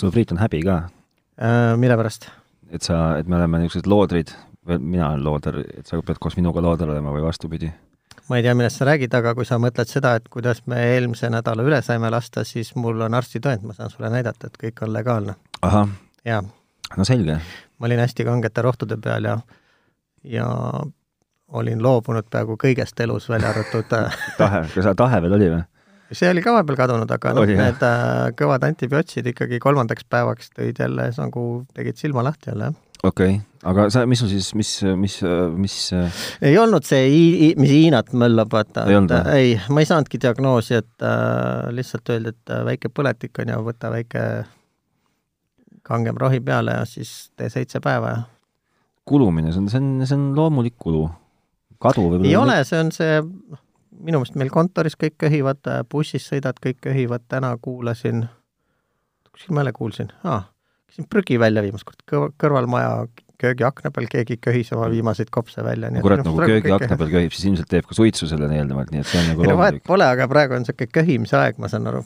Zufrit on häbi ka , Äh, mille pärast ? et sa , et me oleme niisugused loodrid , või mina olen looder , et sa pead koos minuga looder olema või vastupidi . ma ei tea , millest sa räägid , aga kui sa mõtled seda , et kuidas me eelmise nädala üle saime lasta , siis mul on arstitõend , ma saan sulle näidata , et kõik on legaalne . ahah , jaa , no selge . ma olin hästi kangete rohtude peal ja , ja olin loobunud peaaegu kõigest elus , välja arvatud äh, tahe , kas seal tahe veel oli või ? see oli ka vahepeal kadunud , aga noh , Oli, jah. need äh, kõvad antibiootsid ikkagi kolmandaks päevaks tõid jälle nagu , tegid silma lahti jälle , jah . okei okay. , aga sa , mis sul siis , mis , mis , mis äh, ei olnud see , mis Hiinat möllab , vaata . Ei olnud või? ei , ma ei saanudki diagnoosi , et äh, lihtsalt öeldi , et äh, väike põletik on ja võta väike kangem rohi peale ja siis tee seitse päeva ja kulumine , see on , see on , see on loomulik kulu . kadu võib-olla ei ole , see on see , noh , minu meelest meil kontoris kõik köhivad , bussis sõidad , kõik köhivad , täna kuulasin , kuskil ma jälle kuulsin ah, , käisin prügi välja viimast korda , kõr- , kõrvalmaja köögiakna peal keegi köhis oma viimaseid kopse välja , nii noh, kui kurat nagu köögiakna peal köhib , siis ilmselt teeb ka suitsu sellele eelnevalt , nii et see on nagu ei no vahet loomulik . pole , aga praegu on niisugune köhimise aeg , ma saan aru .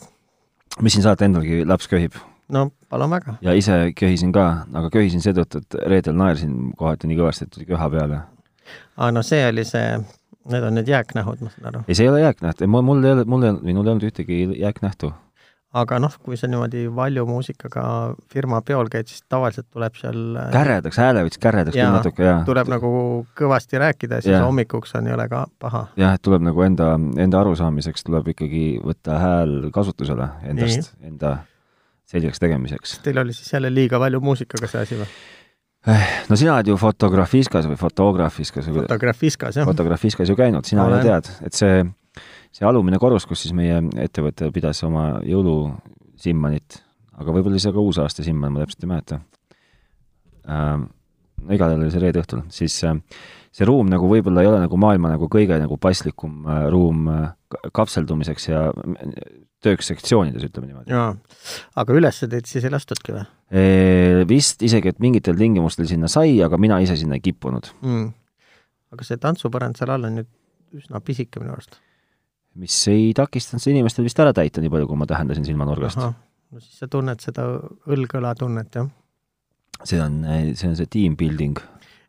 mis siin saate endalgi , laps köhib no palun väga . ja ise köhisin ka , aga köhisin seetõttu , et reedel naersin kohati nii kõvasti , et tuli köha peale . aa , no see oli see , need on need jääknähud , ma saan aru . ei , see ei ole jääknäht , mul ei ole , mul ei olnud , minul ei olnud ühtegi jääknähtu . aga noh , kui sa niimoodi valju muusikaga firma peol käid , siis tavaliselt tuleb seal käredaks , hääle võttis käredaks küll Jaa, natuke ja , tuleb nagu kõvasti rääkida ja siis Jah. hommikuks on jõle ka paha . jah , et tuleb nagu enda , enda arusaamiseks tuleb ikkagi võtta hääl kasutusele endast , enda selgeks tegemiseks . Teil oli siis jälle liiga palju muusikaga see asi või ? no sina oled ju fotografiskas või fotograafiskas või fotografiskas jah ? fotografiskas ju käinud , sina ju Olen. tead , et see , see alumine korrus , kus siis meie ettevõte pidas oma jõulusimmanit , aga võib-olla oli see ka uusaasta simman , ma täpselt ei mäleta ähm, . igal juhul oli see reede õhtul , siis äh, see ruum nagu võib-olla ei ole nagu maailma nagu kõige nagu paslikum äh, ruum äh, ka- kapseldumiseks ja mm, tööks sektsioonides , ütleme niimoodi . jaa . aga üles teid siis ei lastudki või Äh, vist isegi , et mingitel tingimustel sinna sai , aga mina ise sinna ei kippunud . mm. ? aga see tantsupõrand seal all on nüüd üsna pisike minu arust . mis ei takistanud seda inimestel vist ära täita , nii palju , kui ma tähendasin silmanurgast . no siis sa tunned seda õlg-õla tunnet jah ? see on , see on see team building ,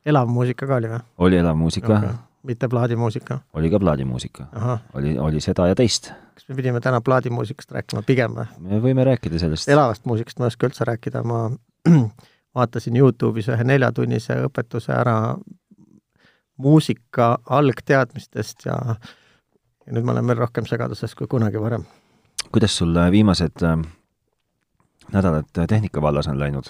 elav muusika ka oli või ? oli elavmuusika okay. , mitte plaadimuusika ? oli ka plaadimuusika , ahah , oli , oli seda ja teist . kas me pidime täna plaadimuusikast rääkima pigem või ? me võime rääkida sellest . elavast muusikast ma ei oska üldse rääkida , ma vaatasin Youtube'is ühe neljatunnise õpetuse ära muusika algteadmistest ja, ja nüüd ma olen veel rohkem segaduses kui kunagi varem . kuidas sul äh, viimased äh, nädalad äh, tehnika vallas on läinud ?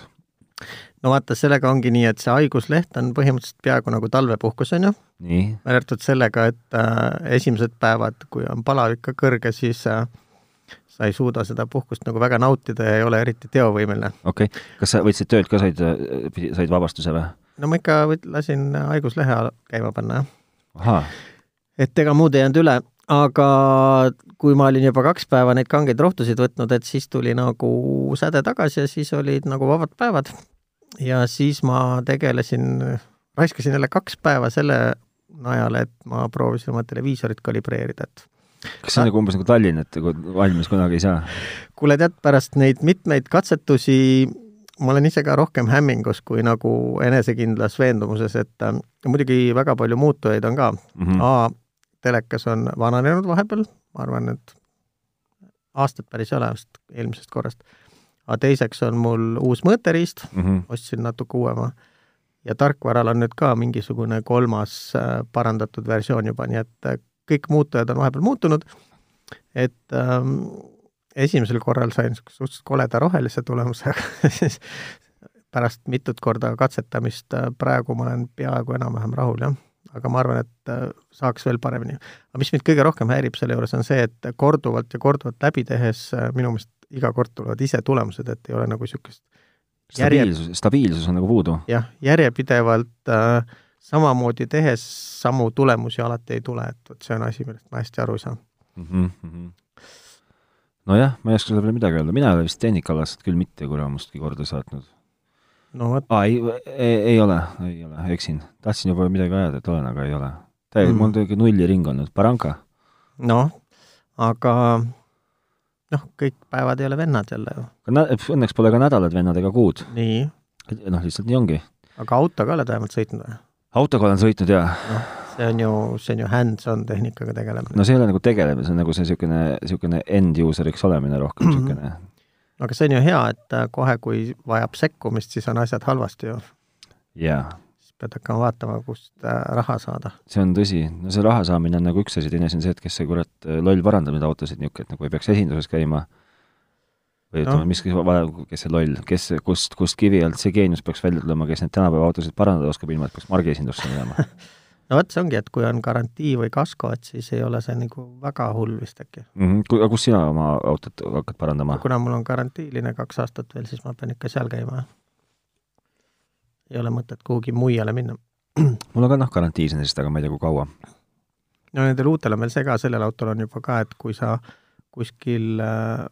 no vaata , sellega ongi nii , et see haigusleht on põhimõtteliselt peaaegu nagu talvepuhkus , on ju , nii , välja arvatud sellega , et äh, esimesed päevad , kui on palavik ka kõrge , siis äh, sa ei suuda seda puhkust nagu väga nautida ja ei ole eriti teovõimeline . okei okay. , kas sa võtsid töölt ka , said , said vabastuse või ? no ma ikka võt- lasin haiguslehe al- käima panna , jah . ahaa , et ega muud ei jäänud üle , aga kui ma olin juba kaks päeva neid kangeid rohtusid võtnud , et siis tuli nagu säde tagasi ja siis olid nagu vabad päevad . ja siis ma tegelesin , raiskasin jälle kaks päeva selle najal , et ma proovisin oma televiisorit kalibreerida , et kas see on nagu umbes nagu Tallinn , et nagu valmis kunagi ei saa ? kuule tead , pärast neid mitmeid katsetusi ma olen ise ka rohkem hämmingus kui nagu enesekindlas veendumuses , et äh, muidugi väga palju muutujaid on ka , Mhm. A telekas on vananenud vahepeal , ma arvan , et aastat päris ei ole vist eelmisest korrast . aga teiseks on mul uus mõõteriist , Mhm. ostsin natuke uuema ja tarkvaral on nüüd ka mingisugune kolmas äh, parandatud versioon juba , nii et äh, kõik muutujad on vahepeal muutunud . et ähm, esimesel korral sain niisuguse suhteliselt koleda rohelise tulemuse , aga siis pärast mitut korda katsetamist äh, praegu ma olen peaaegu enam-vähem rahul , jah . aga ma arvan , et äh, saaks veel paremini . aga mis mind kõige rohkem häirib selle juures , on see , et korduvalt ja korduvalt läbi tehes äh, minu meelest iga kord tulevad ise tulemused , et ei ole nagu niisugust Järje- stabiilsus , stabiilsus on nagu puudu . jah , järjepidevalt äh, samamoodi tehes samu tulemusi alati ei tule , et vot see on asi , millest ma hästi aru ei saa . Mhm, nojah , ma ei oska selle peale midagi öelda , mina ei ole vist tehnikaalast küll mitte kuramustki korda saatnud . no vot , aa , ei , ei , ei ole , ei ole , eksin . tahtsin juba midagi ajada , et olen , aga ei ole . täiega mm. , Mm. mul on teiega nulli ring olnud , Barranca . noh , aga noh, kõik päevad ei ole vennad jälle ju. Õnneks pole ka nädalad vennad ega kuud. nii, noh, lihtsalt nii ongi. aga autoga oled vähemalt sõitnud või? autoga olen sõitnud ja see on ju, see on ju hands-on tehnikaga tegelemine no see ei ole nagu tegelemine, see on nagu see niisugune, niisugune end user'iks olemine rohkem Mhm. niisugune mm -hmm. no, aga see on ju hea , et äh, kohe , kui vajab sekkumist , siis on asjad halvasti ju . jaa siis pead hakkama vaatama , kust äh, raha saada . see on tõsi , no see raha saamine on nagu üks asi , teine asi on see , et kes see kurat loll parandab neid autosid niisugune , et nagu ei peaks esinduses käima või ütleme Noh. no. , mis , kes see loll , kes , kust , kust kivi alt see geenius peaks välja tulema , kes neid tänapäeva autosid parandada oskab , ilma et peaks margi esindusse minema . no vot , see ongi , et kui on garantii või kasko , et siis ei ole see nagu väga hull vist äkki . Mhm. aga kus sina oma autot hakkad parandama ? kuna mul on garantiiline kaks aastat veel , siis ma pean ikka seal käima . ei ole mõtet kuhugi muiale minna . mul on ka noh , garantii siin vist , aga ma ei tea , kui kaua . no nendel uutel on veel see ka , sellel autol on juba ka , et kui sa kuskil äh,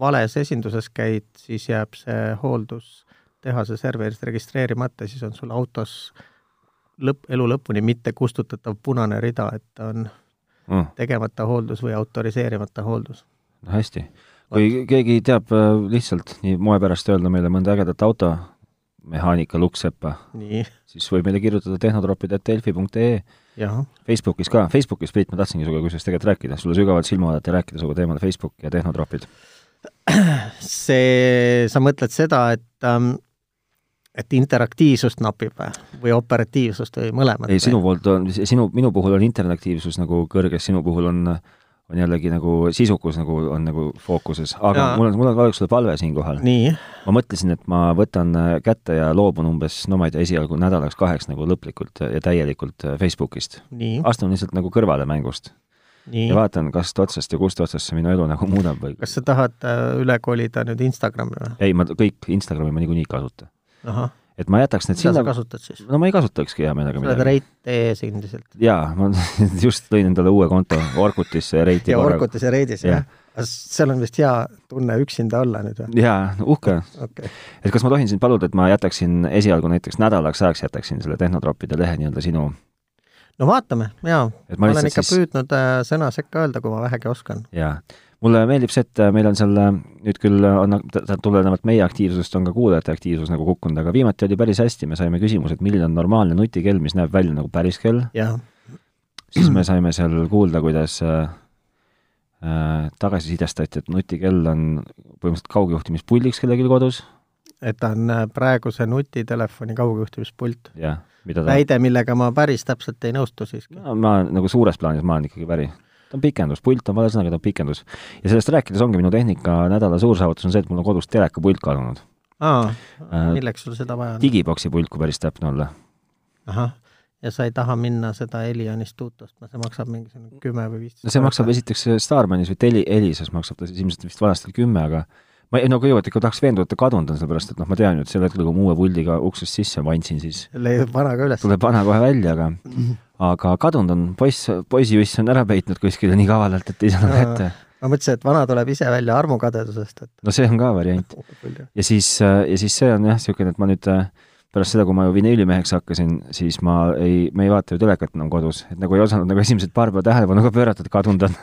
vales esinduses käid , siis jääb see hooldus tehase serveris registreerimata , siis on sul autos lõpp , elu lõpuni mitte kustutatav punane rida , et ta on Mm, tegemata hooldus või autoriseerimata hooldus . no hästi . kui keegi teab äh, lihtsalt nii moe pärast öelda meile mõnda ägedat auto , mehaanika Lukksepa , nii , siis võib meile kirjutada tehnotropid.delfi.ee jah , Facebookis ka , Facebookis , Priit , ma tahtsingi sinuga kusjuures tegelikult rääkida , sulle sügavalt silma vaadata ja rääkida sinuga teemal Facebook ja tehnotropid . see , sa mõtled seda , et ähm, et interaktiivsust napib või , või operatiivsust või mõlemat ? ei , sinu poolt on , sinu , minu puhul on interaktiivsus nagu kõrges , sinu puhul on , on jällegi nagu sisukus nagu on nagu fookuses , aga Jaa. ja. mul on , mul on vaadake sulle palve siinkohal . nii , ma mõtlesin , et ma võtan äh, kätte ja loobun umbes , no ma ei tea , esialgu nädalaks-kaheks nagu lõplikult ja täielikult äh, Facebookist . nii , astun lihtsalt nagu kõrvale mängust nii ja . vaatan , kast otsast ja kust otsast see minu elu nagu muudab või kas sa tahad äh, üle kolida nüüd Instagrami või ? ei , ma t- kõik Instagrami ma niikuinii ei kasuta . ahah , et ma jätaks need mida sa sinna kasutad siis ? no ma ei kasutakski hea meelega sa oled midagi . reit.ee-s endiselt jaa , ma just lõin endale uue konto Orkutisse ja Reiti ja Orkutes ja Reidis Jah. jah ? seal on vist hea tunne üksinda olla nüüd või ? jaa , uhke . okei okay. , et kas ma tohin sind paluda , et ma jätaksin esialgu näiteks nädalaks ajaks jätaksin selle Tehnotroppide lehe nii-öelda sinu , no vaatame ja et ma ma olen lihtsalt ikka siis siis... , püüdnud äh, sõna sekka öelda , kui ma vähegi oskan . jaa . mulle meeldib see , et meil on selle , nüüd küll on , tulenevalt meie aktiivsusest on ka kuulajate aktiivsus nagu kukkunud , aga viimati oli päris hästi , me saime küsimuse , et milline on normaalne nutikell , mis näeb välja nagu päris kell , jah , siis me saime seal kuulda , kuidas äh, äh, tagasisidestati , et nutikell on põhimõtteliselt kaugjuhtimispuldiks kellelgi kodus et ta on äh, praeguse nutitelefoni kaugjuhtimispult . ja mida ta , väide , millega ma päris täpselt ei nõustu siiski . no, ma olen nagu suures plaanis , ma olen ikkagi päri . ta on pikendus , pult on vale sõna , aga ta on pikendus . ja sellest rääkides ongi minu tehnika nädala suur saavutus on see , et mul on kodus telekapult kadunud . aa , Äh, milleks sul seda vaja on ? digiboksi pult , kui päris täpne olla . ahah , ja sa ei taha minna seda Elionist uut ostma , see maksab mingisugune kümme või viisteist no see maksab esiteks Starmanis või Teli , Elisas maksab ta siis ilmselt vist vanasti kümme , aga ma ei , no kõigepealt ikka tahaks veenduda , et ta kadunud on , sellepärast et noh , ma tean ju , et sel hetkel , kui ma uue puldiga uksest sisse vandsin , siis leiab vana ka üles . tuleb vana kohe välja , aga aga kadunud on , poiss , poisijuss on ära peitnud kuskile nii kavalalt , et ei saa enam Aa. kätte . ma mõtlesin , et vana tuleb ise välja armukadedusest , et no see on ka variant . ja siis , ja siis see on jah , niisugune , et ma nüüd äh, pärast seda , kui ma ju vinüülimeheks hakkasin , siis ma ei , me ei vaata ju telekat enam kodus , et nagu ei osanud nagu esimesed paar päeva tähelepanu ka pöörata , et kadunud on .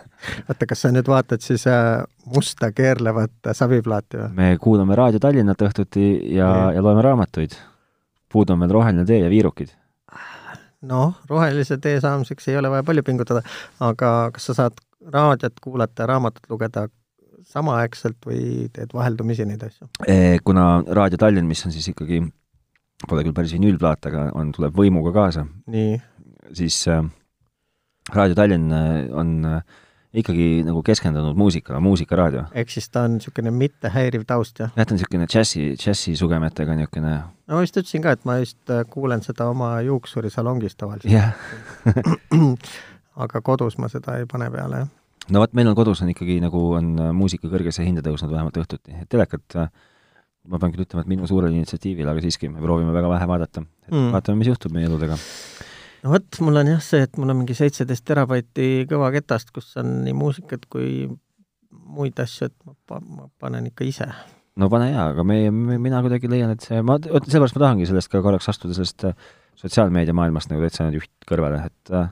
oota , kas sa nüüd vaatad siis äh, musta keerlevat äh, saviplaati või ? me kuulame Raadio Tallinnat õhtuti ja Nii. , ja loeme raamatuid . puudu on veel Roheline tee ja Viirukid . noh , rohelise tee saamiseks ei ole vaja palju pingutada , aga kas sa saad raadiot kuulata ja raamatut lugeda samaaegselt või teed vaheldumisi neid asju ? E, kuna Raadio Tallinn , mis on siis ikkagi , pole küll päris vinüülplaat , aga on , tuleb võimuga kaasa , nii , siis äh, Raadio Tallinn äh, on äh, ikkagi nagu keskendunud muusikale , muusikaraadio . ehk siis ta on niisugune mittehäiriv taust , jah ? jah , ta on niisugune džässi , džässi sugemetega niisugune no ma vist ütlesin ka , et ma just äh, kuulen seda oma juuksurisalongis tavaliselt , jah , aga kodus ma seda ei pane peale , jah . no vot , meil on kodus on ikkagi nagu on äh, muusika kõrgesse hinda tõusnud vähemalt õhtuti , et telekat äh, ma pean küll ütlema , et minu suurel initsiatiivil , aga siiski me proovime väga vähe vaadata . Mm. Mm. vaatame , mis juhtub meie eludega . no vot , mul on jah see , et mul on mingi seitseteist terabaiti kõvaketast , kus on nii muusikat kui muid asju , et ma, pa- ma panen ikka ise . no pane hea , aga me, me , mina kuidagi leian , et see , ma , vot sellepärast ma tahangi sellest ka korraks astuda sellest äh, sotsiaalmeedia maailmast nagu täitsa nüüd juht kõrvale , et äh,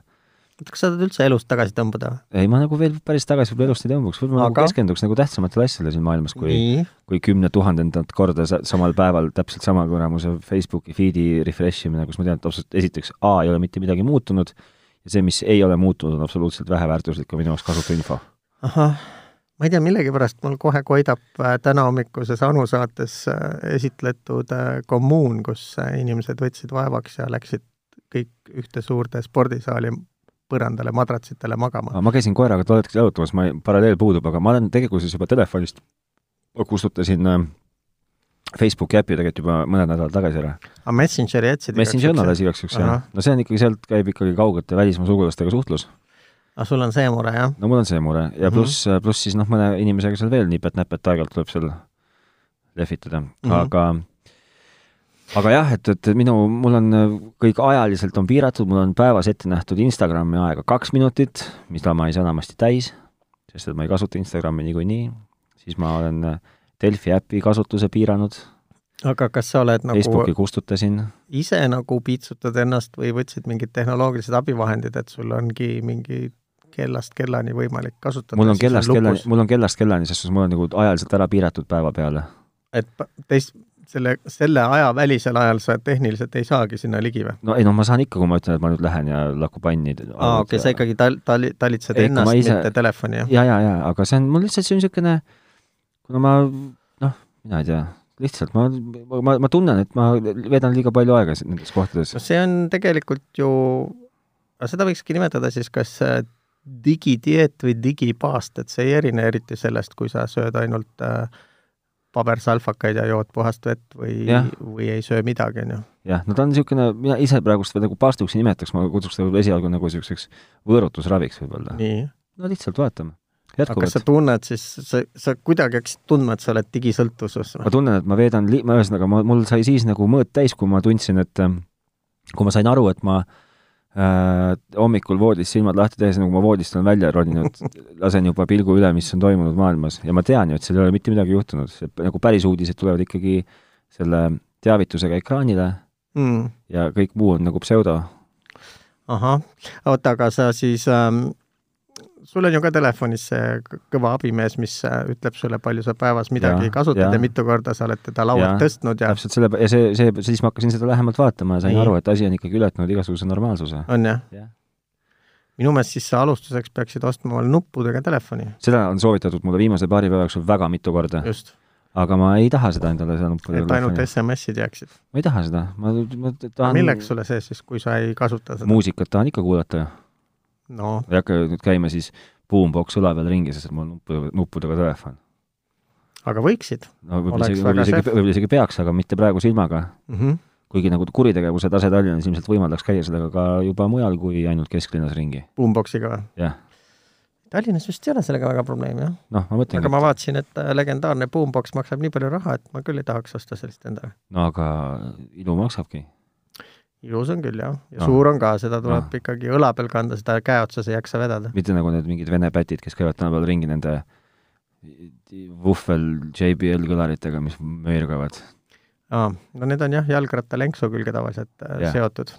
kas sa tahad üldse elust tagasi tõmbuda? ei , ma nagu veel päris tagasi võib-olla elust ei tõmbuks , võib-olla ma nagu Aga? keskenduks nagu tähtsamatele asjadele siin maailmas , kui , nii , kui kümne tuhandendat korda sa- samal päeval täpselt sama kuramuse Facebooki feed'i refresh imine , kus ma tean , et absoluutselt esiteks A ei ole mitte midagi muutunud ja see , mis ei ole muutunud , on absoluutselt väheväärtuslik ja minu jaoks kasutu info . ahah , ma ei tea , millegipärast mul kohe koidab äh, tänahommikuses Anu saates äh, esitletud äh, kommuun , kus äh, inimesed võtsid vaevaks ja läksid kõik ühte suurde spordisaali põrandale madratsitele magama . ma käisin koeraga tol hetkel jalutamas , ma , paralleel puudub , aga ma olen tegelikkuses juba telefonist , kustutasin äh, Facebooki äpi tegelikult juba mõned nädalad tagasi ära . aga Messengeri jätsid Messenger on alles igaks juhuks jah Ahah. . no see on ikkagi , sealt käib ikkagi kaugete välismaa sugulastega suhtlus . aga sul on see mure , jah ? no mul on see mure ja Mhm. pluss , pluss siis noh , mõne inimesega seal veel nipet-näpet aeg-ajalt tuleb seal lehvitada mm , Mhm. -hmm. aga aga jah , et , et minu , mul on äh, kõik ajaliselt on piiratud , mul on päevas ette nähtud Instagrami aega kaks minutit , mida ma ei saa enamasti täis , sest et ma ei kasuta Instagrami niikuinii , siis ma olen äh, Delfi äpi kasutuse piiranud nagu... , aga kas sa oled nagu Facebooki kustutasin ise nagu piitsutad ennast või võtsid mingid tehnoloogilised abivahendid , et sul ongi mingi kellast kellani võimalik kasutada ? mul on kellast kellani , mul on kellast kellani , selles suhtes mul on nagu ajaliselt ära piiratud päeva peale . et pa- teist , selle , selle aja välisel ajal sa tehniliselt ei saagi sinna ligi või ? no ei no ma saan ikka , kui ma ütlen , et ma nüüd lähen ja laku panni . aa , okei okay, , sa . ikkagi tal- , tali- , talitsed Ei, ei, kui ma ennast ise- ise... , mitte telefoni , jah ? ja , ja , ja , aga see on mul lihtsalt , see on niisugune , kuna ma noh , mina ei tea , lihtsalt ma , ma , ma tunnen , et ma veedan liiga palju aega siin nendes kohtades no . see on tegelikult ju , seda võikski nimetada siis kas äh, digidieet või digipaast , et see ei erine eriti sellest , kui sa sööd ainult äh, pabersalfakaid ja jood puhast vett või Jah. , või ei söö midagi , on ju . jah , no ta on niisugune , mina ise praegust veel nagu paastuks ei nimetaks , ma kutsuks ta võib-olla esialgu nagu niisuguseks võõrutusraviks võib-olla . nii , no lihtsalt vaatame . aga kas sa jätkuvalt . tunned siis , sa , sa kuidagi hakkasid tundma , et sa oled digisõltuvuses või ma ? tunnen , et ma veedan li- , ma ühesõnaga , ma , mul sai siis nagu mõõt täis , kui ma tundsin , et ähm, kui ma sain aru , et ma äh, hommikul voodis silmad lahti tehes , nagu ma voodist olen välja roninud , lasen juba pilgu üle , mis on toimunud maailmas ja ma tean ju , et seal ei ole mitte midagi juhtunud , nagu päris uudised tulevad ikkagi selle teavitusega ekraanile Mm. ja kõik muu on nagu pseudo . ahah , oota , aga sa siis ähm, , sul on ju ka telefonis see k- kõva abimees , mis äh, ütleb sulle , palju sa päevas midagi Jaa, ja, kasutad ja, jaa. ja mitu korda sa oled teda Jaa, laualt tõstnud ja täpselt selle , ja see , see , siis ma hakkasin seda lähemalt vaatama ja sain Nii. aru , et asi on ikkagi ületanud igasuguse normaalsuse . on jah Jah. ? minu meelest siis sa alustuseks peaksid ostma omale nuppudega telefoni , seda on soovitatud mulle viimase paari päeva jooksul väga mitu korda , just , aga ma ei taha seda endale seal et ainult SMS-id jääksid . ma ei taha seda , ma , ma tahan milleks sulle see siis , kui sa ei kasuta seda ? muusikat tahan ikka kuulata , no ei hakka nüüd käima siis boombox õla peal ringi , sest et mul on nuppu , nuppudega telefon . aga võiksid no võib-olla Oleks isegi , väga võib-olla isegi , kehv. võib-olla isegi peaks , aga mitte praegu silmaga , mm . -hmm. kuigi nagu kuritegevuse tase Tallinnas ilmselt võimaldaks käia sellega ka juba mujal kui ainult kesklinnas ringi . Boomboxiga või ? jah , Tallinnas vist ei ole sellega väga probleemi jah , noh , ma mõtlengi aga , ma vaatasin , et äh, legendaarne Boombox maksab nii palju raha , et ma küll ei tahaks osta sellist endale . no aga ilu maksabki . ilus on küll jah , ja Ah. no. suur on ka , seda tuleb Ah. no. ikkagi õla peal kanda , seda käe otsas ei jaksa vedada . mitte nagu need mingid vene pätid , kes käivad tänapäeval ringi nende vuhvel JBL kõlaritega , mis möirgavad . aa , no need on jah , jalgrattalenksu külge tavaliselt äh, Jah. seotud .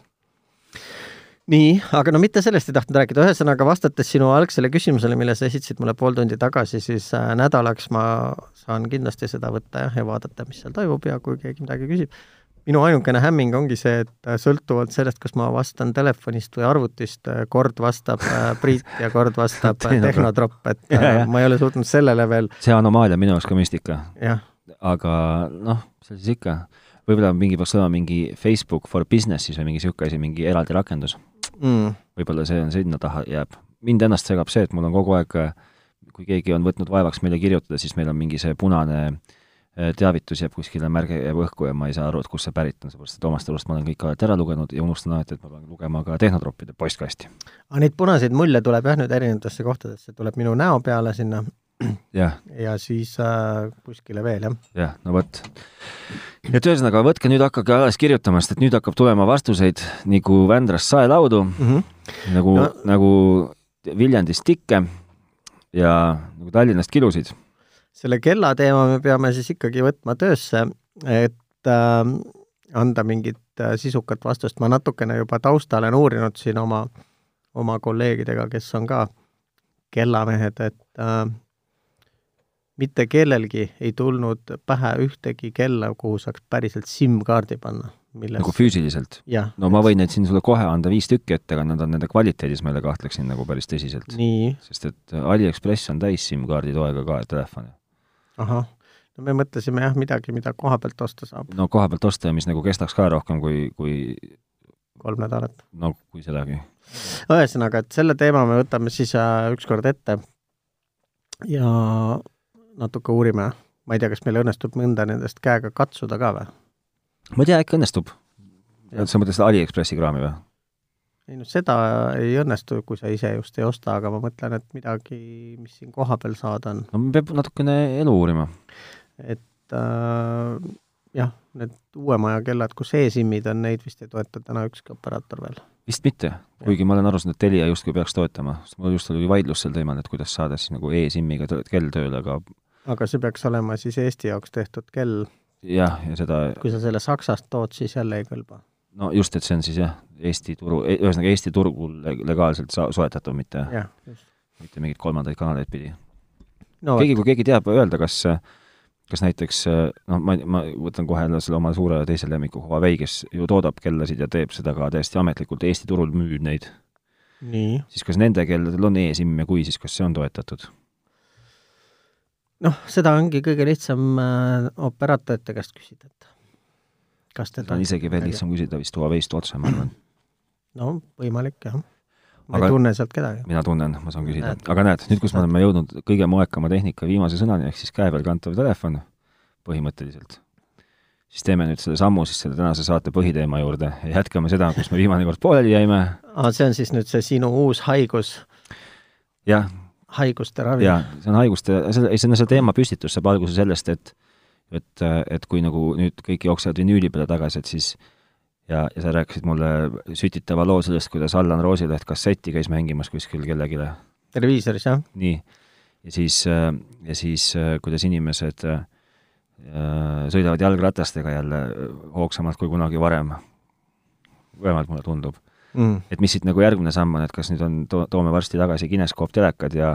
nii , aga no mitte sellest ei tahtnud rääkida , ühesõnaga vastates sinu algsele küsimusele , mille sa esitasid mulle pool tundi tagasi , siis äh, nädalaks ma saan kindlasti seda võtta jah , ja vaadata , mis seal toimub ja kui keegi midagi küsib . minu ainukene hämming ongi see , et äh, sõltuvalt sellest , kas ma vastan telefonist või arvutist , kord vastab äh, Priit ja kord vastab äh, Tehnotropp , et äh, Jajah. ma ei ole suutnud sellele veel see anomaalia on minu jaoks ka müstika jah , aga noh , seal siis ikka , võib-olla mingi peaks olema mingi Facebook for business'is või mingi niisugune asi , mingi eraldi rakendus , mm, võib-olla see on sinna taha jääb . mind ennast segab see , et mul on kogu aeg , kui keegi on võtnud vaevaks meile kirjutada , siis meil on mingi see punane eh, teavitus jääb kuskile , märge jääb õhku ja ma ei saa aru , et kust see pärit on , seepärast et omast arust ma olen kõik alati ära lugenud ja unustan alati , et ma pean lugema ka tehnotroppide postkasti . aga neid punaseid mulje tuleb jah nüüd erinevatesse kohtadesse , tuleb minu näo peale sinna jah , ja siis äh, kuskile veel jah . jah , no vot . et ühesõnaga , võtke nüüd , hakake alles kirjutama , sest et nüüd hakkab tulema vastuseid nagu Vändrast saelaudu Mhm. nagu no. No- , nagu Viljandist tikke ja nagu Tallinnast kilusid . selle kella teema me peame siis ikkagi võtma töösse , et äh, anda mingit äh, sisukat vastust , ma natukene juba tausta olen uurinud siin oma oma kolleegidega, kes on ka kellamehed, et äh, mitte kellelgi ei tulnud pähe ühtegi kella, kuhu saaks päriselt SIM-kaardi panna. nagu füüsiliselt? no ma võin neid siin sulle kohe anda viis tükki ette, aga nad on nende kvaliteedis, ma jälle kahtleksin nagu päris tõsiselt. nii. sest et Aliekspress on täis SIM-kaardi toega ka telefone. ahah, no me mõtlesime jah, midagi, mida koha pealt osta saab. no koha pealt osta ja mis nagu kestaks ka rohkem kui, kui kolm nädalat. no kui sedagi. ühesõnaga, et selle teema me võtame siis äh, ükskord ette ja natuke uurime. ma ei tea, kas meil õnnestub mõnda nendest käega katsuda ka või? ma ei tea, äkki õnnestub. sa mõtled seda Aliekspressi kraami või? ei no seda äh, ei õnnestu, kui sa ise just ei osta, aga ma mõtlen, et midagi, mis siin kohapeal saada on. no peab natukene elu uurima. et äh, jah, need uuema aja kellad, kus e-SIM-id on, neid vist ei toeta täna ükski operaator veel. vist mitte, kuigi ma olen aru saanud, et Telia justkui peaks toetama, sest mul just oli vaidlus sel teemal, et kuidas saada siis nagu e-SIM-iga tõ- kell tööle, aga aga see peaks olema siis Eesti jaoks tehtud kell, jah, ja seda kui sa selle Saksast tood, siis jälle ei kõlba. no just, et see on siis jah, Eesti turu, ühesõnaga Eesti turgul le- legaalselt sa- soetatav, mitte , jah, just. mitte mingeid kolmandaid kanaleid pidi no keegi , kui keegi teab öelda , kas , kas näiteks noh , ma , ma võtan kohe jälle selle oma suure teise lemmiku Huawei , kes ju toodab kellasid ja teeb seda ka täiesti ametlikult , Eesti turul müüb neid , vot, nii siis kas nende kelladel on e-SIM ja kui , siis kas see on toetatud ? noh , seda ongi kõige lihtsam äh, operaatorite käest küsida , et kas seda teda on isegi veel . lihtsam küsida vist Huaweist otse , ma arvan . no võimalik jah . ma aga... Aga- ei tunne sealt kedagi . mina tunnen , ma saan küsida Näed. . aga näed , nüüd , kus me oleme jõudnud kõige moekama tehnika viimase sõnani , ehk siis käe peal kantav telefon põhimõtteliselt , siis teeme nüüd selle sammu siis selle tänase saate põhiteema juurde ja jätkame seda , kus me viimane kord pooleli jäime . aa , see on siis nüüd see sinu uus haigus , jah , haiguste ravi . jaa , see on haiguste , see , ei see on see teemapüstitus saab alguse sellest , et et , et kui nagu nüüd kõik jooksevad vinüüli peale tagasi , et siis ja , ja sa rääkisid mulle sütitava loo sellest , kuidas Allan Roosileht kasseti käis mängimas kuskil kellelegi . televiisoris jah , nii . ja siis , ja siis äh, kuidas inimesed äh, sõidavad jalgratastega jälle äh, hoogsamalt kui kunagi varem . vähemalt mulle tundub mm. et mis siit nagu järgmine samm on , et kas nüüd on , to- , toome varsti tagasi kineskoop telekad ja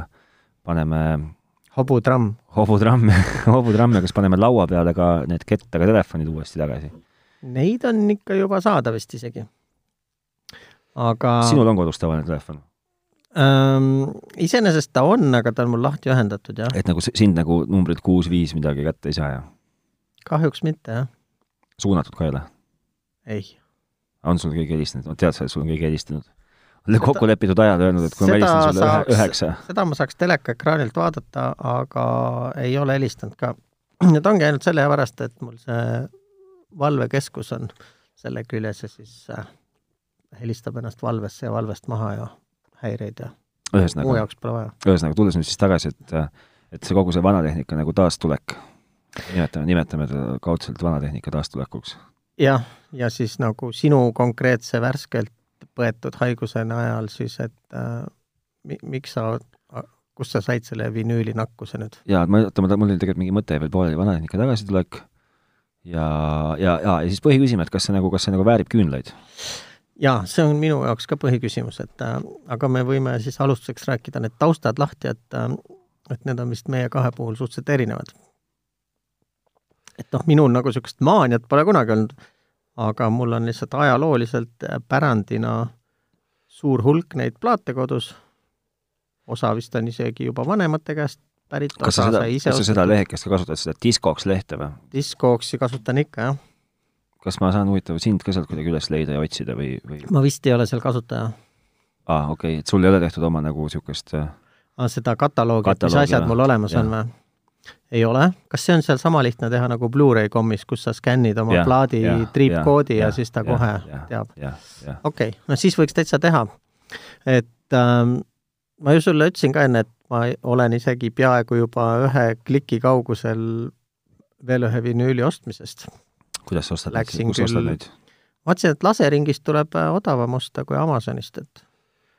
paneme hobutramm , hobutramme , hobutramme , kas paneme laua peale ka need kettaga telefonid uuesti tagasi ? neid on ikka juba saada vist isegi . aga sinul on kodus tavaline telefon ? ähm, iseenesest ta on , aga ta on mul lahti ühendatud jah , et nagu s- sind nagu numbrit kuus-viis midagi kätte ei saa ja kahjuks mitte jah , suunatud ka ei ole ? ei . on sul keegi helistanud , tead sa , et sul on keegi helistanud ? olete kokku lepitud ajal öelnud , et kui ma seda helistan sulle saaks- ühe- üheksa , seda ma saaks telekaekraanilt vaadata , aga ei ole helistanud ka . Need ongi ainult sellepärast , et mul see valvekeskus on selle küljes ja siis äh, helistab ennast valvesse ja valvest maha ja häireid ja muu ühesõnaga , jaoks pole vaja . ühesõnaga tulles nüüd siis tagasi , et et see kogu see vanatehnika nagu taastulek , nimetame , nimetame teda kaudselt vanatehnika taastulekuks . jah , ja siis nagu sinu konkreetse värskelt põetud haiguse najal siis , et äh, mi- miks sa , kust sa said selle vinüüli nakkuse nüüd ? jaa , ma , oota , ma , mul oli tegelikult mingi mõte veel pooleli vanatehnika tagasitulek ja , ja , ja , ja siis põhiküsimus , et kas see nagu , kas see nagu väärib küünlaid ? jaa , see on minu jaoks ka põhiküsimus , et äh, aga me võime siis alustuseks rääkida need taustad lahti , et äh, et need on vist meie kahe puhul suhteliselt erinevad . et noh , minul nagu niisugust maaniat pole kunagi olnud , aga mul on lihtsalt ajalooliselt äh, pärandina suur hulk neid plaate kodus , osa vist on isegi juba vanemate käest pärit , kas sa osa seda , sai ise kas sa seda ostetud , lehekest ka kasutad , seda diskoks lehte või ? diskooksi kasutan ikka , jah . kas ma saan huvitav sind ka sealt kuidagi üles leida ja otsida või , või ? ma vist ei ole seal kasutaja , aa ah, , okei okay, , et sul ei ole tehtud oma nagu niisugust äh, Ah, seda kataloogi, kataloogi , mis Kataloogi, asjad jah. mul olemas Jah. on või ? ei ole , kas see on seal sama lihtne teha nagu Blu-ray kommis , kus sa skännid oma ja, jah, plaadi jah, triipkoodi ja, ja jah, siis ta ja, jah, kohe ja. jah, teab ? jah , jah , okei okay, , no siis võiks täitsa teha . et ähm, ma ju sulle ütlesin ka enne , et ma olen isegi peaaegu juba ühe kliki kaugusel veel ühe vinüüli ostmisest . kuidas sa ostad , Läksin kus sa ostad küll- neid ? vaatasin , et laseringist tuleb äh, odavam osta kui Amazonist , et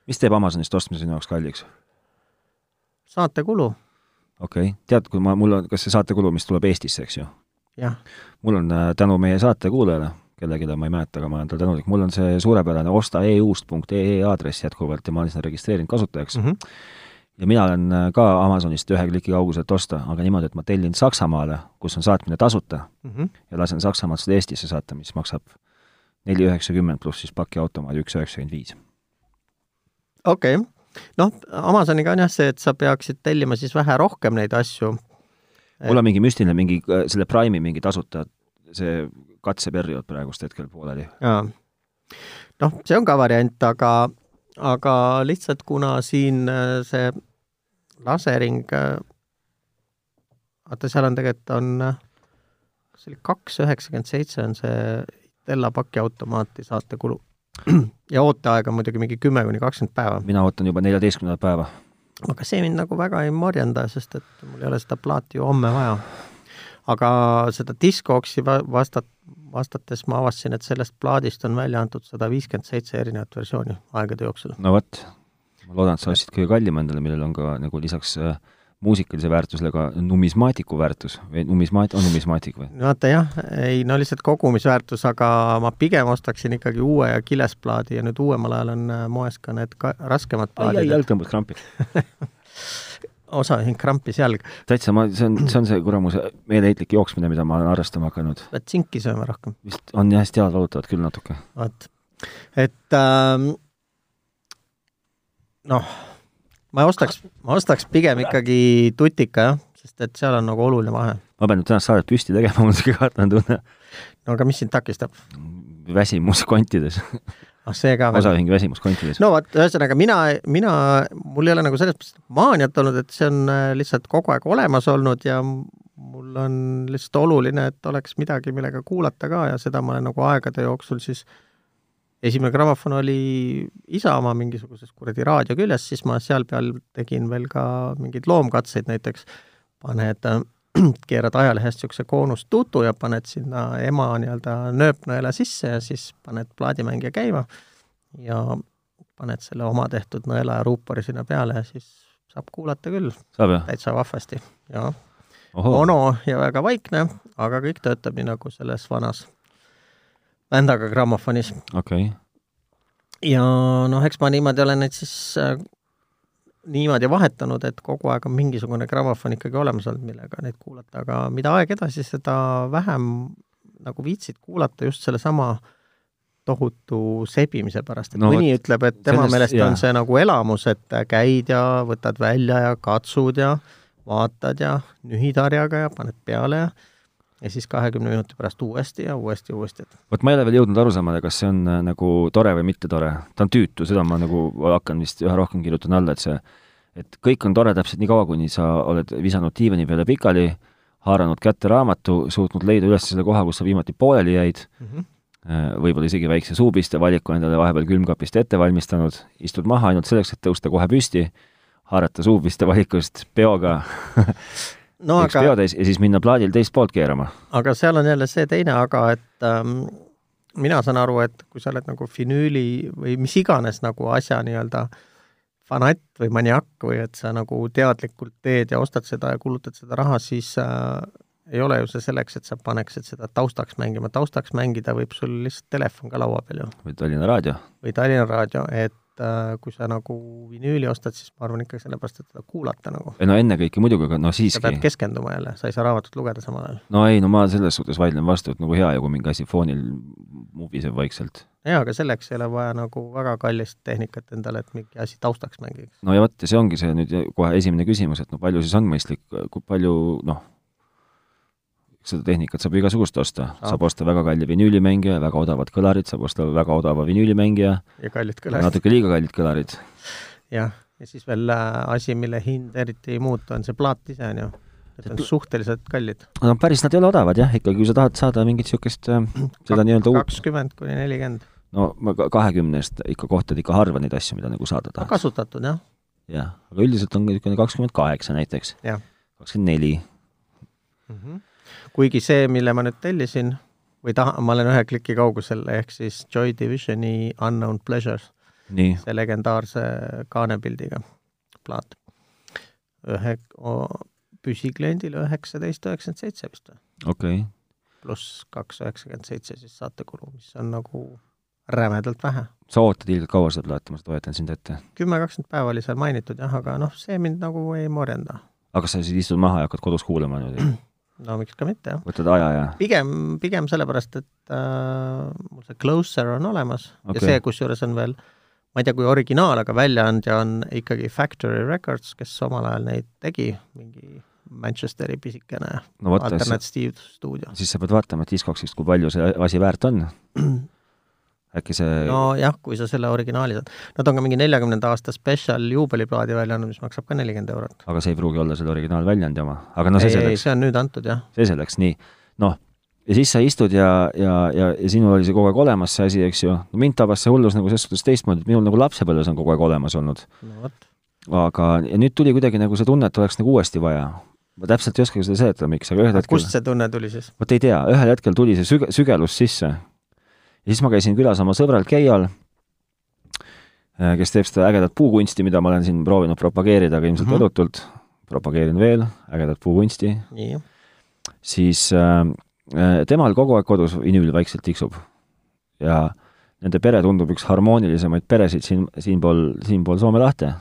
mis teeb Amazonist ostmise sinu jaoks kalliks ? saatekulu , okei okay. , tead , kui ma , mul on , kas see saatekulu , mis tuleb Eestisse , eks ju ? jah , mul on äh, tänu meie saate kuulajale , kellelegi ma ei mäleta, aga ma olen talle tänulik, mul on see suurepärane e ostaeust.ee aadress jätkuvalt ja ma olen seda registreerinud kasutajaks mm. -hmm. ja mina olen äh, ka Amazonist ühe kliki kauguselt osta, aga niimoodi, et ma tellin Saksamaale, kus on saatmine tasuta mm, -hmm. ja lasen Saksamaalt seda Eestisse saata, mis maksab neli üheksakümmend pluss siis pakiautomaadi üks üheksakümmend viis. okei okay., noh, Amazoniga on jah see, et sa peaksid tellima siis vähe rohkem neid asju. mul on mingi müstiline, mingi äh, selle Prime'i mingi tasuta see katseperiood praegust hetkel pooleli. noh, see on ka variant, aga, aga lihtsalt kuna siin äh, see lasering, äh, vaata, seal on tegelikult on, äh, kas see oli kaks üheksakümmend seitse on see Stella pakiautomaati saatekulu. ja ooteaeg on muidugi mingi kümme kuni kakskümmend päeva. mina ootan juba neljateistkümnendat päeva. aga see mind nagu väga ei morjenda, sest et mul ei ole seda plaati ju homme vaja. aga seda Discoxi vastat-, vastates ma avastasin, et sellest plaadist on välja antud sada viiskümmend seitse erinevat versiooni aegade jooksul. no vot, ma loodan, et sa ostsid kõige kallima endale, millel on ka nagu lisaks äh, muusikalise väärtusele ka numismaatiku väärtus või numismaat-, on numismaatik või? vaata jah, ei no lihtsalt kogumisväärtus, aga ma pigem ostaksin ikkagi uue ja kilesplaadi ja nüüd uuemal ajal on äh, moes ka need ka raskemad plaadid. ai, ai, jalg tõmbas krampi osaühing krampis jalg. täitsa, ma, see on, see on see kuramuse meeleheitlik jooksmine, mida ma olen harrastama hakanud. pead sinki sööma rohkem. vist on jah, hästi jalad valutavad küll natuke. vot, et ähm, noh ma ostaks, ma ostaks pigem ikkagi tutika, jah, sest et seal on nagu oluline vahe. ma pean nüüd tänast saadet püsti tegema, mul on sihuke kahtlane tunne. no aga mis sind takistab? väsimus kontides. ah, see ka veel. osaühing väsimus kontides. no vot, ühesõnaga mina, mina, mul ei ole nagu selles mõttes maaniat olnud, et see on äh, lihtsalt kogu aeg olemas olnud ja mul on lihtsalt oluline, et oleks midagi, millega kuulata ka ja seda ma olen nagu aegade jooksul siis esimene grammofon oli isa oma mingisuguses kuradi raadio küljes, siis ma seal peal tegin veel ka mingeid loomkatseid, näiteks paned, äh, keerad ajalehest niisuguse koonustutu ja paned sinna ema nii-öelda nööpnõela sisse ja siis paned plaadimängija käima ja paned selle oma tehtud nõela ja ruupori sinna peale ja siis saab kuulata küll. täitsa vahvasti, jaa. mono ja väga vaikne, aga kõik töötab nii, nagu selles vanas bändaga grammofonis. okei okay.. ja noh, eks ma niimoodi olen neid siis äh, niimoodi vahetanud, et kogu aeg on mingisugune grammofon ikkagi olemas olnud, millega neid kuulata, aga mida aeg edasi, seda vähem nagu viitsid kuulata just sellesama tohutu sebimise pärast, et no, mõni võt, ütleb, et tema sellest, meelest jah. on see nagu elamus, et käid ja võtad välja ja katsud ja vaatad ja nühid harjaga ja paned peale ja ja siis kahekümne minuti pärast uuesti ja uuesti ja uuesti, et vot ma ei ole veel jõudnud aru saama, kas see on äh, nagu tore või mitte tore. ta on tüütu, seda ma nagu hakkan vist üha rohkem kirjutama alla, et see, et kõik on tore täpselt nii kaua, kuni sa oled visanud diivani peale pikali, haaranud kätte raamatu, suutnud leida üles selle koha, kus sa viimati pooleli jäid mm, Mhm. -hmm. võib-olla isegi väikse suupiste valiku endale vahepeal külmkapist ette valmistanud, istud maha ainult selleks, et tõusta kohe püsti, haarata suupiste valikust peoga no, üks aga, peotäis ja siis minna plaadil teist poolt keerama. aga seal on jälle see teine aga, et ähm, mina saan aru, et kui sa oled nagu finüüli või mis iganes nagu asja nii-öelda fanatt või maniakk või et sa nagu teadlikult teed ja ostad seda ja kulutad seda raha, siis äh, ei ole ju see selleks, et sa paneksid seda taustaks mängima, taustaks mängida võib sul lihtsalt telefon ka laua peal ju. või Tallinna Raadio. või Tallinna Raadio, et kui sa nagu vinüüli ostad, siis ma arvan ikka sellepärast, et teda kuulata nagu. ei no ennekõike muidugi, aga no siiski. sa pead keskenduma jälle, sa ei saa raamatut lugeda samal ajal. no ei, no ma selles suhtes vaidlen vastu, et nagu hea ju, kui mingi asi foonil mubiseb vaikselt. jaa, aga selleks ei ole vaja nagu väga kallist tehnikat endale, et mingi asi taustaks mängiks. no ja vot, ja see ongi see nüüd kohe esimene küsimus, et no palju siis on mõistlik, kui palju noh, seda tehnikat saab igasugust osta, saab osta väga kalli vinüülimängija, väga odavad kõlarid, saab osta väga odava vinüülimängija. ja kallid kõlarid. natuke liiga kallid kõlarid. jah, ja siis veel äh, asi, mille hind eriti ei muutu, on see plaat ise, on ju. Need on suhteliselt kallid. no päris nad ei ole odavad jah, ikkagi kui sa tahad saada mingit niisugust seda nii-öelda uut kakskümmend kuni nelikümmend. no ma kahekümne eest ikka kohtad ikka harva neid asju, mida nagu saada tahad. kasutatud, jah. jah, aga üldiselt on niisugune kakskümmend kaheksa näiteks. kakskümmend neli kuigi see, mille ma nüüd tellisin või taha, ma olen ühe kliki kaugusel, ehk siis Joy Divisioni Unknown Pleasures. see legendaarse kaanepildiga plaat. ühe, püsikliendile üheksateist üheksakümmend seitse vist või? okei okay.. pluss kaks üheksakümmend seitse siis saatekulu, mis on nagu rämedalt vähe. sa ootad ilgelt kaua seda plaati, ma toetan sind ette. kümme, kakskümmend päeva oli seal mainitud jah, aga noh, see mind nagu ei morjenda. aga kas sa siis istud maha ja hakkad kodus kuulama niimoodi , no miks ka mitte, jah. võtad aja ja pigem , pigem sellepärast , et äh, mul see Closer on olemas okay. Okei. ja see , kusjuures on veel , ma ei tea , kui originaal , aga väljaandja on ikkagi Factory Records , kes omal ajal neid tegi , mingi Manchesteri pisikene no vot , alternatiivstuudio . siis sa pead vaatama Discogsist , kui palju see asi väärt on . äkki see no. , nojah , kui sa selle originaali saad . Nad on ka mingi neljakümnenda aasta special juubeliplaadi välja andnud , mis maksab ka nelikümmend eurot . aga see ei pruugi olla selle originaalväljundi oma , aga no see ei , ei , selleks , see on nüüd antud jah . see selleks , nii . noh , ja siis sa istud ja , ja , ja , ja sinul oli see kogu aeg olemas , see asi , eks ju no, . mind tabas see hullus nagu selles suhtes teistmoodi , et minul nagu lapsepõlves on kogu aeg olemas olnud , no vot , aga , ja nüüd tuli kuidagi nagu see tunne , et oleks nagu uuesti vaja . ma täpselt ei oskagi seda seletada , miks , aga ühel hetkel kust see tunne tuli siis ? vot ei tea , ühel hetkel tuli see süge- , sügelus sisse . ja siis ma käisin külas oma sõbral Keial , kes teeb seda ägedat puukunsti , mida ma olen siin proovinud propageerida , aga ilmselt Mhm. võdutult mm -hmm. , propageerin veel ägedat puukunsti , nii , siis äh, äh, temal kogu aeg kodus vinüül vaikselt tiksub . ja nende pere tundub üks harmoonilisemaid peresid siin , siinpool , siinpool Soome lahte .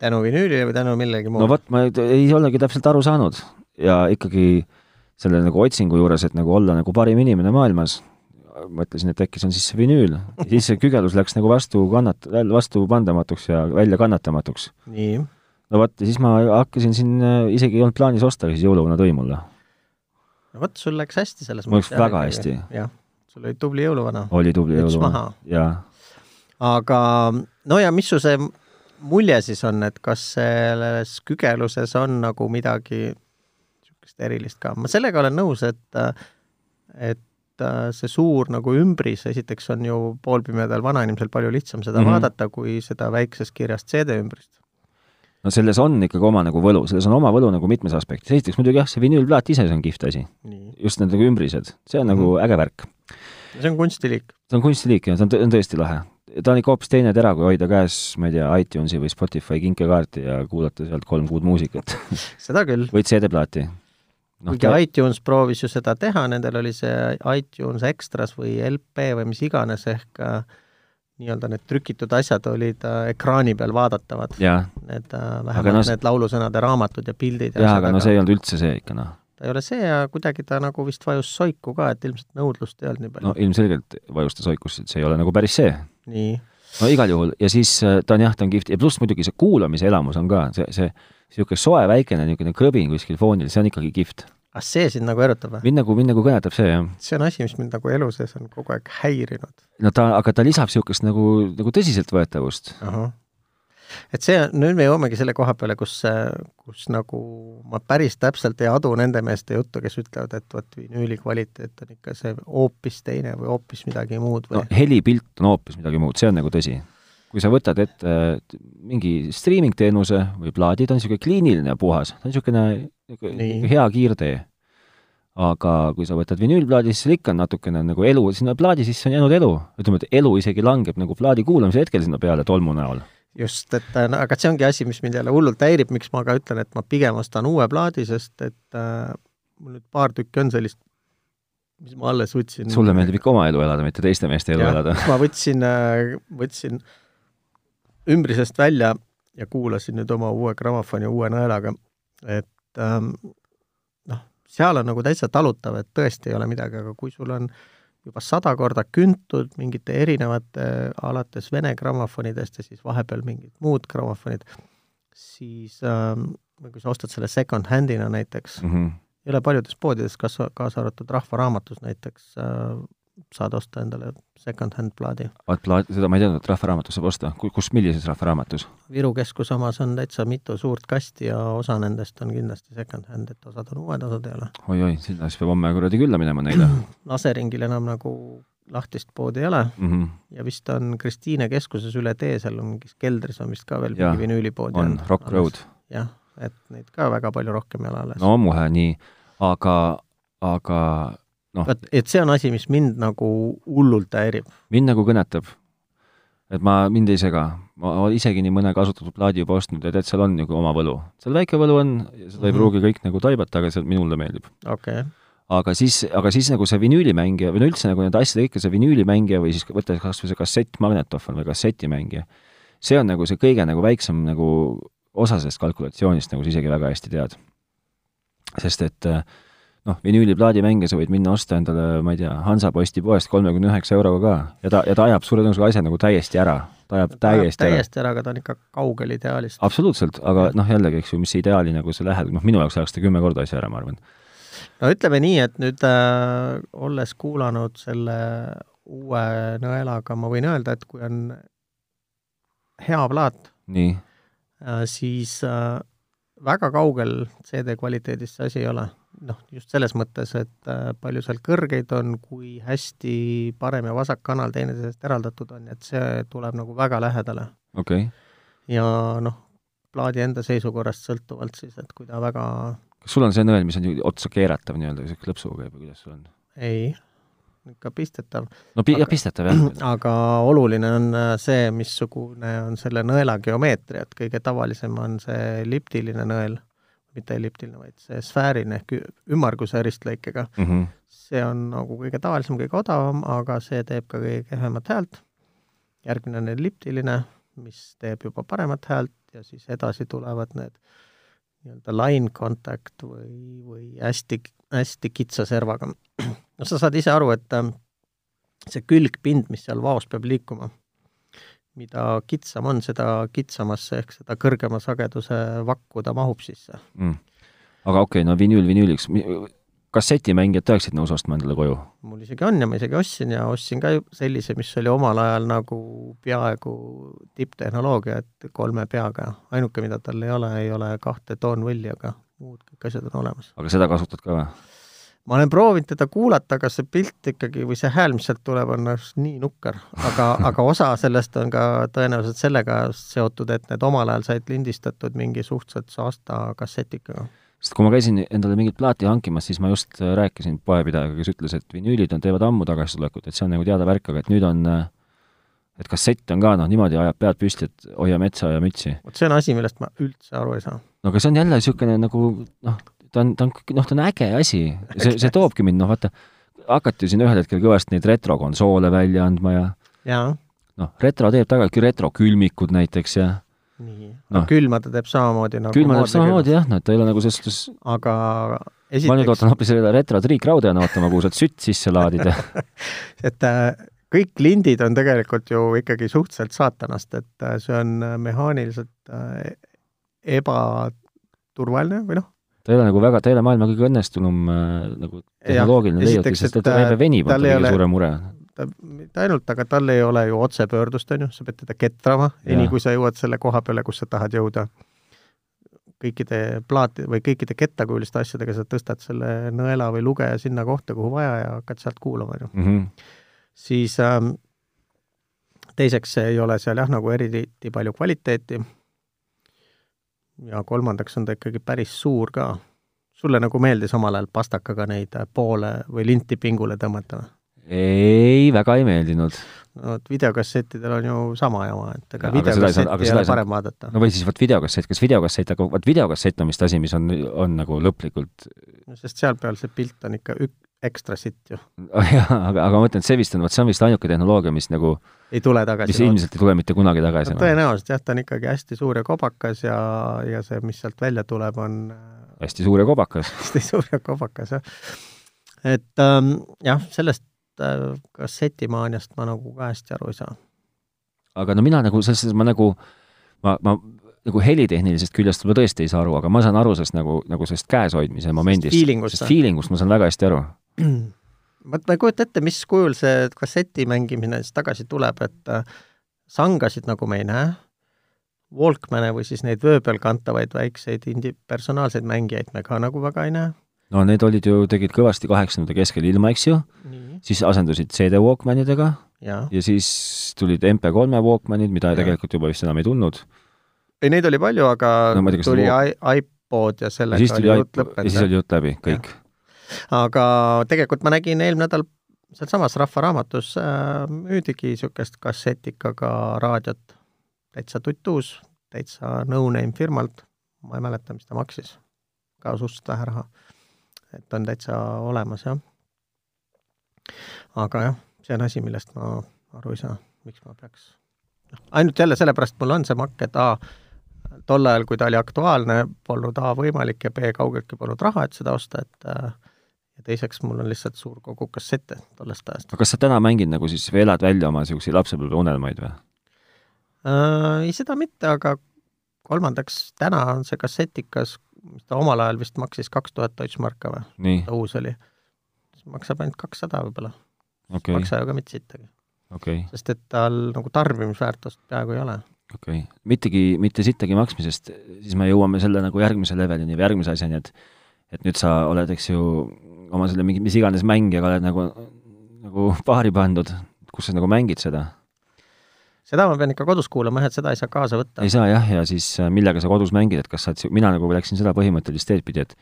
tänu vinüülile või tänu millegi muule no ? vot , ma ei- ei olegi täpselt aru saanud ja ikkagi selle nagu otsingu juures , et nagu olla nagu parim inimene maailmas , mõtlesin , et äkki see on siis see vinüül , siis see kügelus läks nagu vastu kannat- , vastu pandamatuks ja välja kannatamatuks . nii no vot , ja siis ma hakkasin siin , isegi ei olnud plaanis osta , aga siis jõuluvana tõi mulle . no vot , sul läks hästi selles Mul läks jah, väga ikkagi. hästi. jah , sul oli tubli jõuluvana , oli tubli müts jõuluvana maha . jaa . aga no ja mis su see mulje siis on , et kas selles kügeluses on nagu midagi niisugust erilist ka ? ma sellega olen nõus , et , et äh, see suur nagu ümbris , esiteks on ju poolpimedal vanainimesel palju lihtsam seda mm Mhm. -hmm. vaadata , kui seda väiksest kirjast CD-ümbrist . no selles on ikkagi oma nagu võlu , selles on oma võlu nagu mitmes aspektis , esiteks muidugi jah , see vinüülplaat ise , see on kihvt asi , nii , just need nagu ümbrised , see on nagu Mhm. äge värk . see on kunstiliik . ta on kunstiliik ja ta on, tõ- on tõesti lahe . ta on ikka hoopis teine tera , kui hoida käes , ma ei tea , iTunesi või Spotify kinkekaarti ja kuulata sealt kolm kuud muusikat seda küll . või CD-plaati . noh, . kuigi iTunes proovis ju seda teha , nendel oli see iTunes Extras või LP või mis iganes ehk äh, nii-öelda need trükitud asjad olid äh, ekraani peal vaadatavad , jah , need äh, vähemalt Aga no no, s- need laulusõnade raamatud ja pildid ja jah , aga no see ei olnud üldse see ikka noh . ta ei ole see ja kuidagi ta nagu vist vajus soiku ka , et ilmselt nõudlust ei olnud nii palju no no. . ilmselgelt vajustas oikust , et see ei ole nagu päris see . nii , no igal juhul ja siis äh, ta on jah , ta on kihvt ja pluss muidugi see kuulamise elamus on ka , see , see niisugune soe väikene niisugune krõbin kuskil foonil , see on ikkagi kihvt . aga see sind nagu erutab või ? mind nagu , mind nagu kõnetab see jah . see on asi , mis mind nagu elu sees on kogu aeg häirinud . no ta , aga ta lisab niisugust nagu , nagu tõsiseltvõetavust . ahah . et see , nüüd me jõuamegi selle koha peale , kus , kus nagu ma päris täpselt ei adu nende meeste juttu , kes ütlevad , et vot vinüüli kvaliteet on ikka see hoopis teine või hoopis midagi muud no või no. helipilt on hoopis midagi muud , see on nagu tõsi . kui sa võtad ette äh, mingi striiming-teenuse või plaadi , ta on niisugune kliiniline ja puhas , ta on niisugune niisugune- Nii. niisugune hea kiirtee . aga kui sa võtad vinüülplaadi , siis seal ikka on natukene nagu elu , sinna plaadi sisse on jäänud elu . ütleme , et elu isegi langeb nagu plaadi kuulamise hetkel sinna peale tolmu näol . just , et no, aga see ongi asi , mis mind jälle hullult häirib , miks ma ka ütlen , et ma pigem ostan uue plaadi , sest et äh, mul nüüd paar tükki on sellist , mis ma alles võtsin . sulle meeldib ikka oma elu elada , mitte teiste meeste elu Jah, ja. elada . ma võtsin , võtsin ümbrisest välja ja kuulasin nüüd oma uue grammofoni uue naelaga , et ähm, noh , seal on nagu täitsa talutav , et tõesti ei ole midagi , aga kui sul on juba sada korda küntud mingite erinevate , alates vene grammofonidest ja siis vahepeal mingid muud grammofonid , siis ähm, või kui sa ostad selle second-hand'ina näiteks , Mm -hmm. ei ole paljudes poodides , kas kaasa arvatud Rahva Raamatus näiteks äh, saad osta endale second-hand plaadi . vaat plaat , seda ma ei teadnud , et Rahvaraamatus saab osta . kus , millises Rahvaraamatus ? Viru keskuse omas on täitsa mitu suurt kasti ja osa nendest on kindlasti second-hand , et osad on uued , osad ei ole . oi-oi , sinna siis peab homme kuradi külla minema neile mm . laseringil enam nagu lahtist poodi ei ole -hmm. ja vist on Kristiine keskuses üle tee , seal on mingis keldris on vist ka veel Jaa, mingi vinüülipood . on Rock Road . jah , et neid ka väga palju rohkem ei ole alles no muhe nii , aga , aga noh , vot , et see on asi , mis mind nagu hullult häirib . mind nagu kõnetab . et ma , mind ei sega , ma olen isegi nii mõne kasutatud plaadi juba ostnud ja tead , seal on nagu oma võlu . seal väike võlu on , seda ei Mhm. pruugi kõik nagu taibata , aga see minule meeldib . okei okay. , aga siis, aga siis nagu see vinüülimängija või no üldse nagu nende asjade ikka see vinüülimängija või siis võtta kas või see kassettmagnetofon või kassetimängija, see on nagu see kõige nagu väiksem nagu osa sellest kalkulatsioonist, nagu sa isegi väga hästi tead. sest et noh, vinüüliplaadimänge sa võid minna osta endale, ma ei tea, Hansaposti poest kolmekümne üheksa euroga ka ja ta, ja ta ajab suure tõenäosusega asja nagu täiesti ära. ta ajab täiesti ära täiesti ära, aga ta on ikka kaugel ideaalist . absoluutselt , aga noh , jällegi , eks ju , mis ideaali nagu sa lähed , noh , minu jaoks ajaks ta kümme korda asja ära , ma arvan . no ütleme nii , et nüüd äh, olles kuulanud selle uue nõelaga , ma võin öelda , et kui on hea plaat , nii , siis äh, väga kaugel CD kvaliteedist see asi ei ole . noh , just selles mõttes , et äh, palju seal kõrgeid on , kui hästi parem ja vasak kanal teineteisest eraldatud on , et see tuleb nagu väga lähedale . okei okay. . ja noh , plaadi enda seisukorrast sõltuvalt siis , et kui ta väga kas sul on see nõel , mis on niimoodi otsa keeratav nii-öelda , niisugune lõpsuga käib või kuidas sul on ? ei , ikka pistetav , no pi- , Aga- jah , pistetav jah . aga oluline on äh, see , missugune on selle nõela geomeetria , et kõige tavalisem on see elliptiline nõel , mitte elliptiline , vaid see sfäärine ehk ü- ümmarguse ristlõikega . Mm -hmm. see on nagu kõige tavalisem , kõige odavam , aga see teeb ka kõige kehvemat häält . järgmine on elliptiline , mis teeb juba paremat häält ja siis edasi tulevad need nii-öelda line contact või , või hästi , hästi kitsa servaga . no sa saad ise aru , et ähm, see külgpind , mis seal vaos peab liikuma , mida kitsam on , seda kitsamasse ehk seda kõrgema sageduse vakku ta mahub sisse . Mm. aga okei okay, , no vinüül vinüüliks , kassetimängijad tõeksid nõus ostma endale koju ? mul isegi on ja ma isegi ostsin ja ostsin ka ju- sellise , mis oli omal ajal nagu peaaegu tipptehnoloogia , et kolme peaga . ainuke , mida tal ei ole , ei ole kahte toonvõlli , aga muud kõik asjad on olemas . aga seda kasutad ka või ? ma olen proovinud teda kuulata , aga see pilt ikkagi või see hääl , mis sealt tuleb , on just nii nukker . aga , aga osa sellest on ka tõenäoliselt sellega seotud , et need omal ajal said lindistatud mingi suhteliselt saasta kassetikaga . sest kui ma käisin endale mingit plaati hankimas , siis ma just äh, rääkisin poepidajaga , kes ütles , et vinüülid on , teevad ammu tagasitulekut , et see on nagu teada värk , aga et nüüd on , et kassett on ka noh , niimoodi ajab pead püsti , et hoia metsa ja mütsi . vot see on asi , millest ma üldse aru ei saa . no aga see on jälle niisugune nagu noh , ta on , ta on , noh , ta on äge asi , see , see toobki mind , noh vaata , hakati ju siin ühel hetkel kõvasti neid retrokonsoole välja andma ja jaa , noh , retro teeb tagantki retrokülmikud näiteks ja nii Noh. no. . külma ta teeb samamoodi nagu külma teeb moodne külm. samamoodi jah , no et ta ei ole nagu selles suhtes , aga ma nüüd esiteks , ootan hoopis seda retro triikraudajana ootama , kuhu saad sütt sisse laadida . et äh, kõik lindid on tegelikult ju ikkagi suhteliselt saatanast , et äh, see on äh, mehaaniliselt äh, ebaturvaline või noh , ta ei ole nagu väga , ta ei ole maailma kõige õnnestunum äh, nagu tehnoloogiline leiutis , esiteks, sest et et, ta äh, venib , on tal tal ei kõige ole- suurem mure . ta mitte ainult , aga tal ei ole ju otsepöördust , on ju , sa pead teda ketrama , Jah. enne kui sa jõuad selle koha peale , kus sa tahad jõuda . kõikide plaati või kõikide kettakujuliste asjadega sa tõstad selle nõela või lugeja sinna kohta , kuhu vaja ja hakkad sealt kuulama , on ju . Mhm. siis ähm, teiseks ei ole seal jah , nagu eriti palju kvaliteeti . ja kolmandaks on ta ikkagi päris suur ka . sulle nagu meeldis omal ajal pastakaga neid äh, poole või linti pingule tõmmata või ? ei , väga ei meeldinud . no vot videokassettidel on ju sama jama , et Jaa, ega aga seda ei saa- aga videokassetti ei seda ei ole saa- parem vaadata no no, , või siis vot videokassett , kas videokassett , aga vot videokassett on vist asi , mis on , on nagu lõplikult sest seal peal see pilt on ikka ük- , ekstra sitt ju . jah , Oh aga , aga ma mõtlen , et see vist on , vot see on vist ainuke tehnoloogia , mis nagu , ei tule mis tagasi . ilmselt ei tule mitte kunagi tagasi no, . tõenäoliselt jah , ta on ikkagi hästi suur ja kobakas ja , ja see , mis sealt välja tuleb , on äh, hästi suur ja kobakas . hästi suur ja kobakas jah . et ähm, jah , sellest äh, kassetimaaniast ma nagu ka hästi aru ei saa . aga no mina nagu selles suhtes ma nagu , ma , ma nagu helitehnilisest küljest ma tõesti ei saa aru , aga ma saan aru sellest nagu , nagu sellest käeshoidmise momendist . feelingust sest või? feelingust ma saan väga hästi aru . vot ma ei kujuta ette , mis kujul see kasseti mängimine siis tagasi tuleb , et äh, sangasid nagu me ei näe , Walkmane või siis neid vöö peal kantavaid väikseid indi- , personaalseid mängijaid me ka nagu väga ei näe . no need olid ju , tegid kõvasti kaheksakümnendate keskel ilma , eks ju , nii . siis asendusid CD Walkmanidega jaa . ja siis tulid MP3-e Walkmanid , mida Jah. tegelikult juba vist enam ei tulnud . ei , neid oli palju , aga No no, ma ei tea, tea, kas tuli Walk- i- iPod ja ja sellega siis tuli oli jutt iPod- ja siis lõppenud . oli jutt läbi , kõik . aga tegelikult ma nägin eelmine nädal sealsamas Rahva Raamatus äh, müüdigi niisugust kassetikaga raadiot täitsa tutuus , täitsa no-name firmalt , ma ei mäleta , mis ta maksis , ka suhteliselt vähe raha . et on täitsa olemas, jah. aga jah, see on asi, millest ma aru ei saa, miks ma peaks, noh, ainult jälle sellepärast mul on see makk, et A, tol ajal, kui ta oli aktuaalne, polnud A võimalik ja B kaugeltki polnud raha, et seda osta, et äh, ja teiseks mul on lihtsalt suur kogu kassette tollest ajast aga kas sa täna mängid nagu siis või elad välja oma niisuguseid lapsepõlveunelmaid või? äh, . ei , seda mitte , aga kolmandaks täna on see kassetikas , mis ta omal ajal vist maksis kaks tuhat Deutschmarka või , nii , ta uus oli , maksab ainult kakssada võib-olla okay. , okei , maksa ju ka mitte sittagi , okei , sest et tal nagu tarbimisväärtust peaaegu ei ole . okei . mittegi , mitte sittagi maksmisest , siis me jõuame selle nagu järgmise levelini või järgmise asjani , et et nüüd sa oled , eks ju , oma selle mingi , mis iganes mängijaga oled nagu , nagu paari pandud , kus sa nagu mängid seda seda ma pean ikka kodus kuulama jah , et seda ei saa kaasa võtta ei . saa jah , ja siis äh, millega sa kodus mängid , et kas sa oled , mina nagu läksin seda põhimõttelist teed pidi , et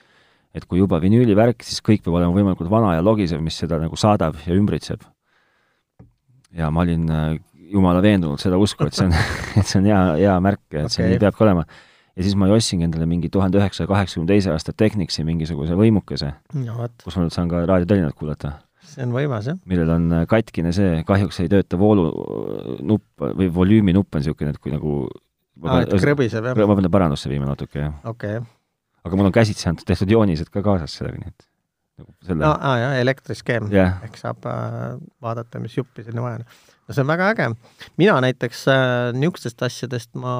et kui juba vinüülivärk , siis kõik peab olema võimalikult vana ja logisev , mis seda nagu saadab ja ümbritseb . ja ma olin äh, jumala veendunud seda usku , et see on , et see on hea , hea märk , et okay. see Okei. nii peabki olema . ja siis ma jossingi endale mingi tuhande üheksasaja kaheksakümne teise aasta Technicsi mingisuguse võimukese , no vot , kus ma nüüd saan ka raadiotelinat kuulata , see on võimas jah . millel on äh, katkine see , kahjuks ei tööta voolu äh, nupp või volüümi nupp on niisugune , et kui nagu aa , et krõbiseb jah ? ma pean ta parandusse viima natuke , jah . okei , aga mul on käsitsi antud tehtud joonised ka kaasas sellega , nii et nagu selle no. , no aa jah , elektriskeem . jah , ehk saab äh, vaadata , mis juppi sinna vaja on . no see on väga äge . mina näiteks äh, niisugustest asjadest ma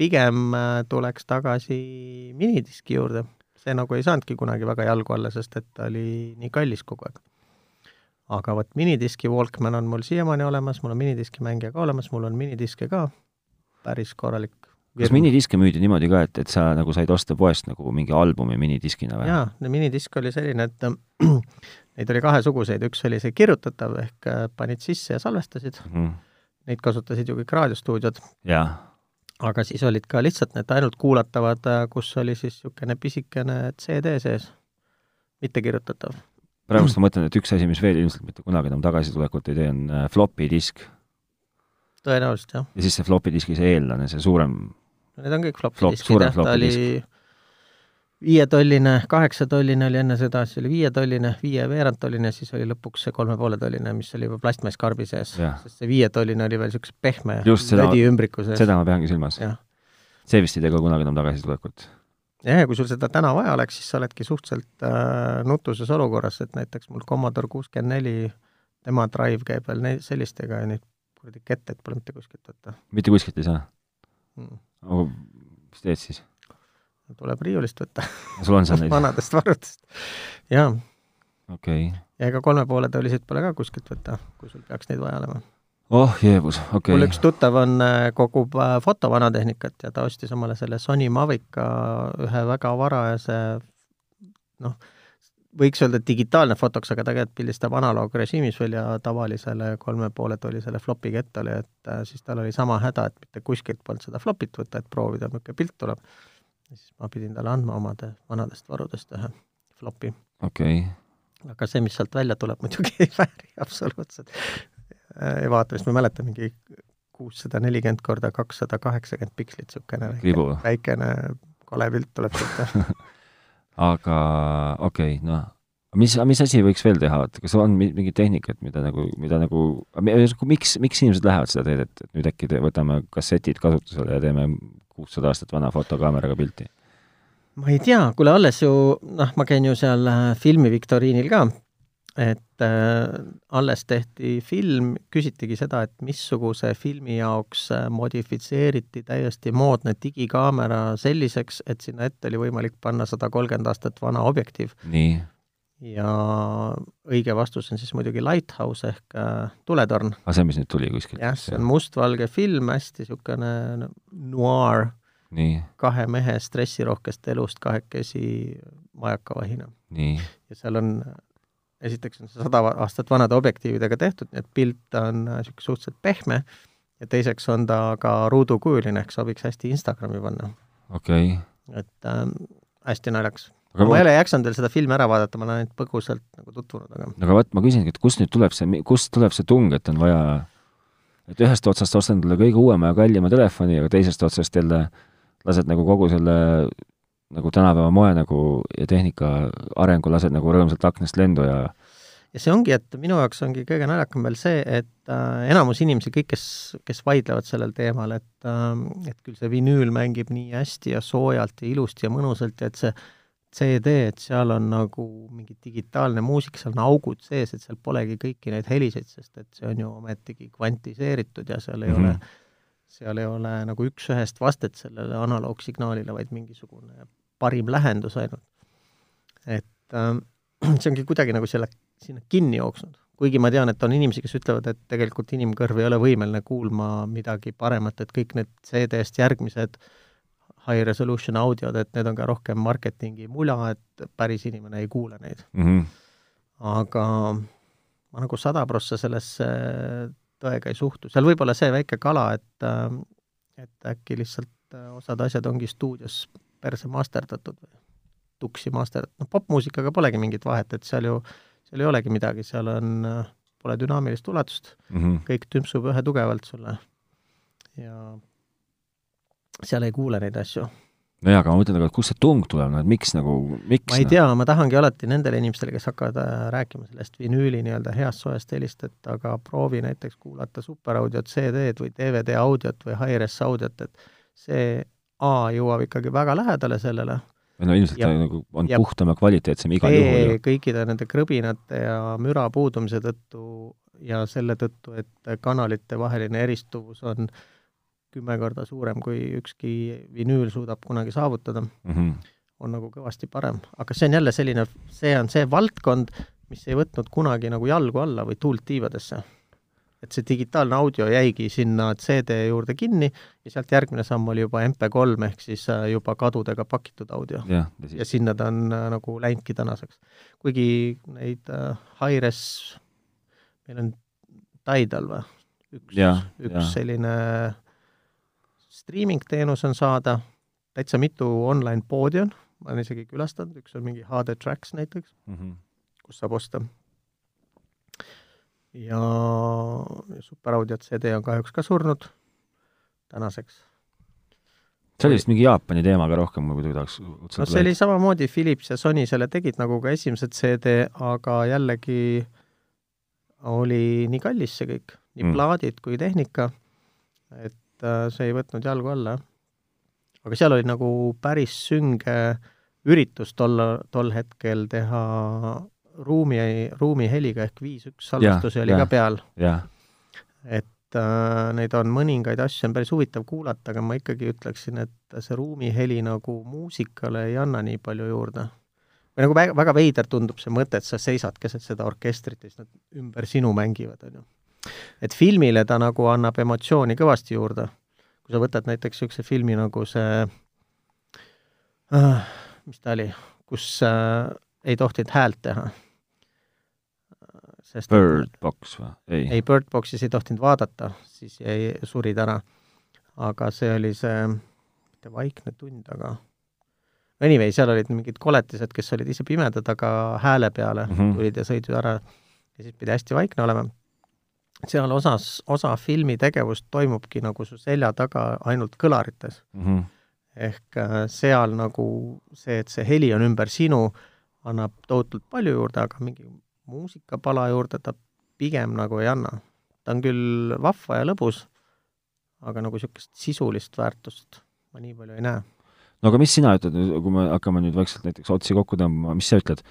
pigem äh, tuleks tagasi minidiski juurde . see nagu ei saanudki kunagi väga jalgu alla , sest et ta oli nii kallis kogu aeg . aga vot minidiski Walkman on mul siiamaani olemas , mul on minidiski mängija ka olemas , mul on minidiske ka , päris korralik . kas ? minidiske müüdi niimoodi ka , et , et sa nagu said osta poest nagu mingi albumi minidiskina või ? jaa , no minidisk oli selline , et äh, neid oli kahesuguseid , üks oli see kirjutatav ehk äh, panid sisse ja salvestasid , neid kasutasid ju kõik raadiostuudiod , Mhm. jaa , aga siis olid ka lihtsalt need ainult kuulatavad , kus oli siis niisugune pisikene CD sees , mitte kirjutatav . praegust ma mõtlen , et üks asi , mis veel ilmselt mitte kunagi enam tagasitulekut ei tee , on äh, floppy disk tõenäoliselt jah , ja siis see floppy diski see eellane , see suurem , need on kõik floppy Flop- diskid suurem jah , ta floppy oli viietolline , kaheksatolline oli enne seda , siis oli viietolline , viie veerandtolline , siis oli lõpuks see kolme poole tolline , mis oli juba plastmasskarbi sees . jah , sest see viietolline oli veel niisuguse pehme Just seda- lödi ümbriku sees . seda ma peangi silmas . jah , see vist ei tee ka kunagi enam tagasitulekut . jah , ja kui sul seda täna vaja oleks , siis sa oledki suhteliselt äh, nutuses olukorras , et näiteks mul Commodore kuuskümmend neli , tema drive käib veel ne- sellistega ja neid kuradi ketteid pole mitte kuskilt võtta mitte kuskilt ei saa . mm. . aga mis teed siis ? tuleb riiulist võtta , sul on seal neid ? vanadest varudest . jaa , okei . ja ega kolme poole tõeliseid pole ka kuskilt võtta , kui sul peaks neid vaja olema okay. . oh jeebus , okei mul okay. üks . tuttav on , kogub äh, fotovanateehnikat ja ta ostis omale selle Sony Mavica ühe väga varajase noh , võiks öelda et digitaalne fotoks , aga tegelikult pildistab analoogrežiimis veel ja tavalisele kolme poole tolisele flopi kettale , et äh, siis tal oli sama häda , et mitte kuskilt polnud seda flopit võtta , et proovida , milline pilt tuleb . siis ma pidin talle andma omade vanadest varudest ühe flopi . okei okay. aga see , mis sealt välja tuleb , muidugi ei vääri absoluutselt äh, vaatamist , ma mäletan mingi kuussada nelikümmend korda kakssada kaheksakümmend pikslit , niisugune väike, Kribu. väikene kole pilt tuleb sealt . aga okei okay, , noh , mis , mis asi võiks veel teha , et kas on mi- mingit tehnikat , mida nagu , mida nagu , miks , miks inimesed lähevad seda teed , et et nüüd äkki te, võtame kassetid kasutusele ja teeme kuussada aastat vana fotokaameraga pilti ? ma ei tea , kuule alles ju noh , ma käin ju seal äh, filmiviktoriinil ka , et äh, alles tehti film , küsitigi seda , et missuguse filmi jaoks äh, modifitseeriti täiesti moodne digikaamera selliseks , et sinna ette oli võimalik panna sada kolmkümmend aastat vana objektiiv . nii , ja õige vastus on siis muidugi Lighthouse ehk äh, tuletorn . aga see , mis nüüd tuli kuskilt . jah , see on mustvalge film , hästi niisugune no- noir , nii , kahe mehe stressirohkest elust kahekesi majakavahina . nii , ja seal on , esiteks on see sada va- aastat vanade objektiividega tehtud , nii et pilt on niisugune suhteliselt pehme ja teiseks on ta ka ruudukujuline ehk sobiks hästi Instagrami panna . okei okay. . et äh, hästi naljakas . aga ma ei vot , ole jaksanud veel seda filmi ära vaadata , ma olen ainult põgusalt nagu tutvunud , aga aga vot , ma küsingi , et kust nüüd tuleb see , kust tuleb see tung , et on vaja , et ühest otsast ostan endale kõige uuema ja kallima telefoni , aga teisest otsast jälle lased nagu kogu selle nagu tänapäeva moe nagu ja tehnika arengu lased nagu rõõmsalt aknast lendu ja ja see ongi, et minu jaoks ongi kõige naljakam veel see, et äh, enamus inimesi, kõik, kes, kes vaidlevad sellel teemal, et äh, et küll see vinüül mängib nii hästi ja soojalt ja ilusti ja mõnusalt ja et see CD, et seal on nagu mingi digitaalne muusika, seal on augud sees, et seal polegi kõiki neid heliseid, sest et see on ju ometigi kvantiseeritud ja seal ei mm -hmm. ole, seal ei ole nagu üks-ühest vastet sellele analoogsignaalile, vaid mingisugune parim lähendus ainult. et äh, see ongi kuidagi nagu selle, sinna kinni jooksnud. kuigi ma tean, et on inimesi, kes ütlevad, et tegelikult inimkõrv ei ole võimeline kuulma midagi paremat, et kõik need CD-st järgmised high resolution audiod, et need on ka rohkem marketingi mula, et päris inimene ei kuule neid mm. -hmm. aga ma nagu sada prossa sellesse äh, tõega ei suhtu, seal võib olla see väike kala, et äh, et äkki lihtsalt äh, osad asjad ongi stuudios perse masterdatud või tuksi masterdatud, noh popmuusikaga polegi mingit vahet, et seal ju, seal ei olegi midagi, seal on, äh, pole dünaamilist ulatust mm, -hmm. kõik tümpsub ühe tugevalt sulle ja seal ei kuule neid asju. nojah, aga ma mõtlen nagu, et kust see tung tuleb, no et miks nagu, miks? ma ei tea, ma tahangi alati nendele inimestele, kes hakkavad äh, rääkima sellest vinüüli nii-öelda heast soojast helist, et aga proovi näiteks kuulata superaudiot, CD-d või DVD audiot või Hi-Res audiot, et see A jõuab ikkagi väga lähedale sellele. no ilmselt ja, ta nagu on ja, puhtam ja kvaliteetsem igal juhul ju. kõikide nende krõbinate ja müra puudumise tõttu ja selle tõttu, et kanalite vaheline eristuvus on kümme korda suurem, kui ükski vinüül suudab kunagi saavutada mm, -hmm. on nagu kõvasti parem. aga see on jälle selline, see on see valdkond, mis ei võtnud kunagi nagu jalgu alla või tuult tiivadesse. et see digitaalne audio jäigi sinna CD juurde kinni ja sealt järgmine samm oli juba MP3 ehk siis äh, juba kadudega pakitud audio. ja, ja, ja sinna ta on äh, nagu läinudki tänaseks. kuigi neid äh, Hi-Res, meil on Tidal või? üks, üks ja. selline striiming-teenus on saada, täitsa mitu online-poodi on, ma olen isegi külastanud, üks on mingi HD Tracks näiteks mm, -hmm. kus saab osta. ja superaudiot CD on kahjuks ka surnud tänaseks. see oli vist mingi Jaapani teemaga rohkem, ma muidu tahaks no see oli samamoodi, Philips ja Sony selle tegid nagu ka esimesed CD, aga jällegi oli nii kallis see kõik, nii mm. plaadid kui tehnika, et äh, see ei võtnud jalgu alla, jah. aga seal oli nagu päris sünge üritus tol, tol hetkel teha ruumi, ruumiheliga ehk viis-üks salvestusi oli ja, ka peal. et äh, neid on mõningaid asju, on päris huvitav kuulata, aga ma ikkagi ütleksin, et see ruumiheli nagu muusikale ei anna nii palju juurde. või nagu väga, väga veider tundub see mõte, et sa seisad keset seda orkestrit ja siis nad ümber sinu mängivad, on ju et filmile ta nagu annab emotsiooni kõvasti juurde. kui sa võtad näiteks niisuguse filmi nagu see äh,, mis ta oli, kus äh, ei tohtinud häält teha. Sest Bird Box või? ei, ei, Bird Boxis ei tohtinud vaadata, siis jäi, surid ära. aga see oli see, mitte vaikne tund, aga anyway, seal olid mingid koletised, kes olid ise pimedad, aga hääle peale mm Mhm, -hmm. tulid ja sõid ära ja siis pidi hästi vaikne olema seal osas, osa filmi tegevust toimubki nagu su selja taga ainult kõlarites mm. -hmm. ehk äh, seal nagu see, et see heli on ümber sinu, annab tohutult palju juurde, aga mingi muusikapala juurde ta pigem nagu ei anna. ta on küll vahva ja lõbus, aga nagu niisugust sisulist väärtust ma nii palju ei näe. no aga mis sina ütled, kui me hakkame nüüd vaikselt näiteks otsi kokku tõmbama, mis sa ütled,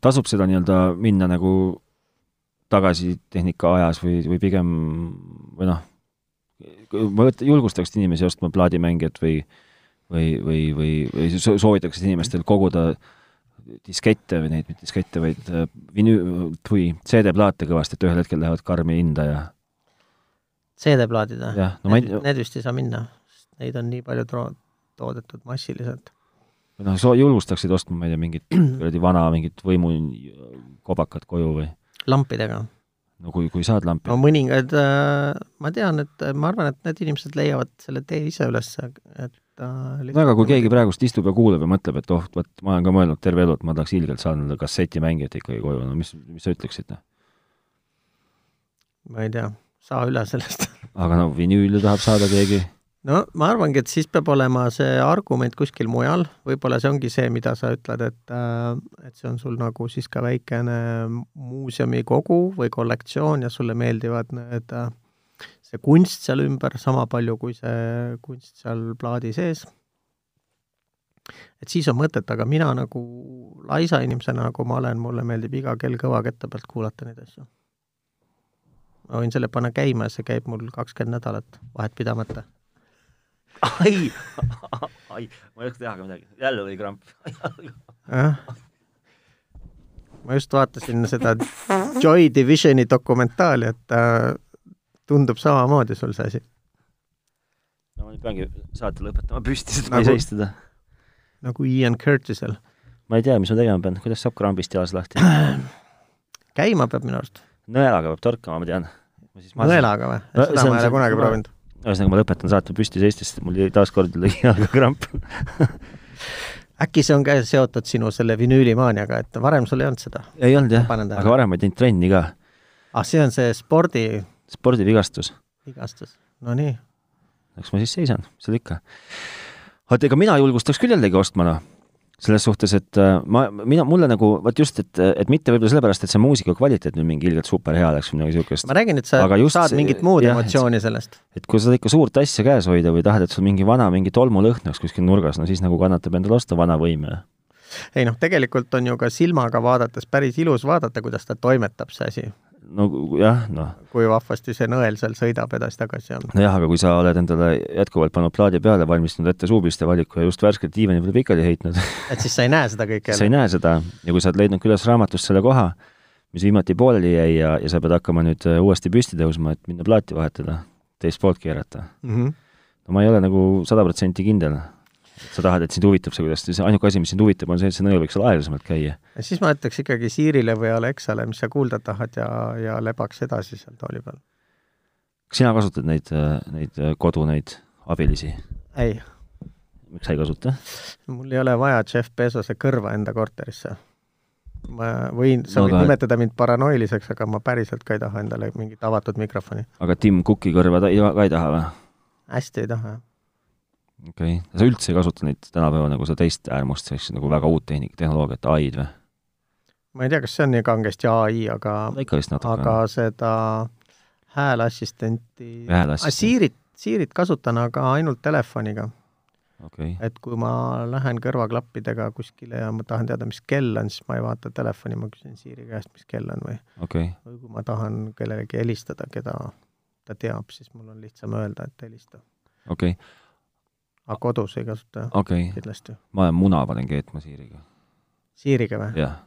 tasub seda nii-öelda minna nagu tagasi tehnika ajas või, või pigem või noh, ma julgustaks inimesi ostma plaadimängijat või, või, või, või, või soovitaks inimestel koguda diskette või neid, mitte diskette, vaid vinüü-, või CD-plaate kõvasti, et ühel hetkel lähevad karmi hinda ja CD-plaadid või? No need, ei... need vist ei saa minna, sest neid on nii palju tro-, toodetud massiliselt noh, sa julgustaksid ostma, ma ei tea, mingit kuradi vana mingit võimukobakat koju või? lampidega. no kui, kui saad lampi? no mõningad äh,, ma tean, et ma arvan, et need inimesed leiavad selle tee ise üles, et äh, nagu no aga kui mõni... keegi praegust istub ja kuulab ja mõtleb, et oh, vot ma olen ka mõelnud terve elu, et ma tahaks ilgelt saada endale kassetimängijat ikkagi koju, no mis, mis sa ütleksid? noh? ma ei tea, saa üle sellest aga no vinüüli tahab saada keegi no ma arvangi, et siis peab olema see argument kuskil mujal, võib-olla see ongi see, mida sa ütled, et et see on sul nagu siis ka väikene muuseumikogu või kollektsioon ja sulle meeldivad need, äh, see kunst seal ümber sama palju kui see kunst seal plaadi sees. et siis on mõtet, aga mina nagu laisa inimesena, nagu ma olen, mulle meeldib iga kell kõva kätte pealt kuulata neid asju. ma võin selle panna käima ja see käib mul kakskümmend nädalat vahet pidamata ai, ai, ma ei oska teha ka midagi, jälle oli kramp. jah. ma just vaatasin seda Joy Divisioni dokumentaali, et äh, tundub samamoodi sul see asi. no ma nüüd peangi saate lõpetama püsti, sest ma ei saa istuda. nagu Ian Curtisel. ma ei tea, mis ma tegema pean, kuidas saab krambist jalas lahti? käima peab minu arust. nõelaga peab torkama, ma tean. nõelaga või? seda ma ei ole kunagi proovinud ühesõnaga, ma lõpetan saate püsti seistes, mul jäi taaskord lõi jalga kramp äkki see on ka seotud sinu selle vinüülimaaniaga, et varem sul ei olnud seda? ei olnud jah, aga varem ei teinud trenni ka. ah, see on see spordi? spordivigastus. vigastus, no nii. eks ma siis seisan, seal ikka. vaata, ega mina julgustaks küll jällegi ostma, noh. selles suhtes, et äh, ma, mina, mulle nagu, vot just, et, et mitte võib-olla sellepärast, et see muusika kvaliteet nüüd mingi ilgelt superhea oleks või midagi niisugust. ma räägin, et sa just, saad mingit muud jah, emotsiooni sellest et kui sa ikka suurt asja käes hoida või tahad, et sul mingi vana, mingi tolmulõhn oleks kuskil nurgas, no siis nagu kannatab endale osta vana võime. ei noh, tegelikult on ju ka silmaga vaadates päris ilus vaadata, kuidas ta toimetab, see asi. no jah, noh. kui vahvasti see nõel seal sõidab edasi-tagasi ja nojah, aga kui sa oled endale jätkuvalt pannud plaadi peale, valmistanud ette suupiste valiku ja just värskelt diivani peale pikali heitnud et siis sa ei näe seda kõike sa ei näe seda ja kui sa oled leidnud külas raamatust selle koha, mis viimati pooleli jäi ja, ja sa pead hakkama nüüd äh, uuesti püsti tõusma, et minna plaati vahetada, teist poolt keerata mm. -hmm. no ma ei ole nagu sada protsenti kindel. sa tahad, et sind huvitab see, kuidas, see ainuke asi, mis sind huvitab, on see, et see nõel võiks seal aeglasemalt käia. siis ma ütleks ikkagi Siirile või Alexale, mis sa kuulda tahad ja, ja lebaks edasi seal tooli peal. kas sina kasutad neid, äh, neid kodu, neid abilisi? ei. miks sa ei kasuta? mul ei ole vaja Jeff Bezose kõrva enda korterisse ma võin, sa no, võid aga... nimetada mind paranoiliseks, aga ma päriselt ka ei taha endale mingit avatud mikrofoni. aga Tim Cooki kõrva ta ei, ka ei taha või? hästi ei taha, jah. okei okay., sa üldse ei kasuta neid tänapäeva nagu seda teist äärmust, eks nagu väga uut tehnik-, tehnoloogiat, ai-d või? ma ei tea, kas see on nii kangesti ai, aga no, ikka vist natuke. aga seda hääleassistenti hääleassistent. ah,, siirit, siirit kasutan, aga ainult telefoniga okay.. et kui ma lähen kõrvaklappidega kuskile ja ma tahan teada, mis kell on, siis ma ei vaata telefoni, ma küsin Siiri käest, mis kell on või okay.. või kui ma tahan kellelegi helistada, keda ta teab, siis mul on lihtsam öelda, et helista. okei okay.. aga kodus ei kasuta okay. kindlasti. ma olen muna panen keetma Siiriga. Siiriga või? jah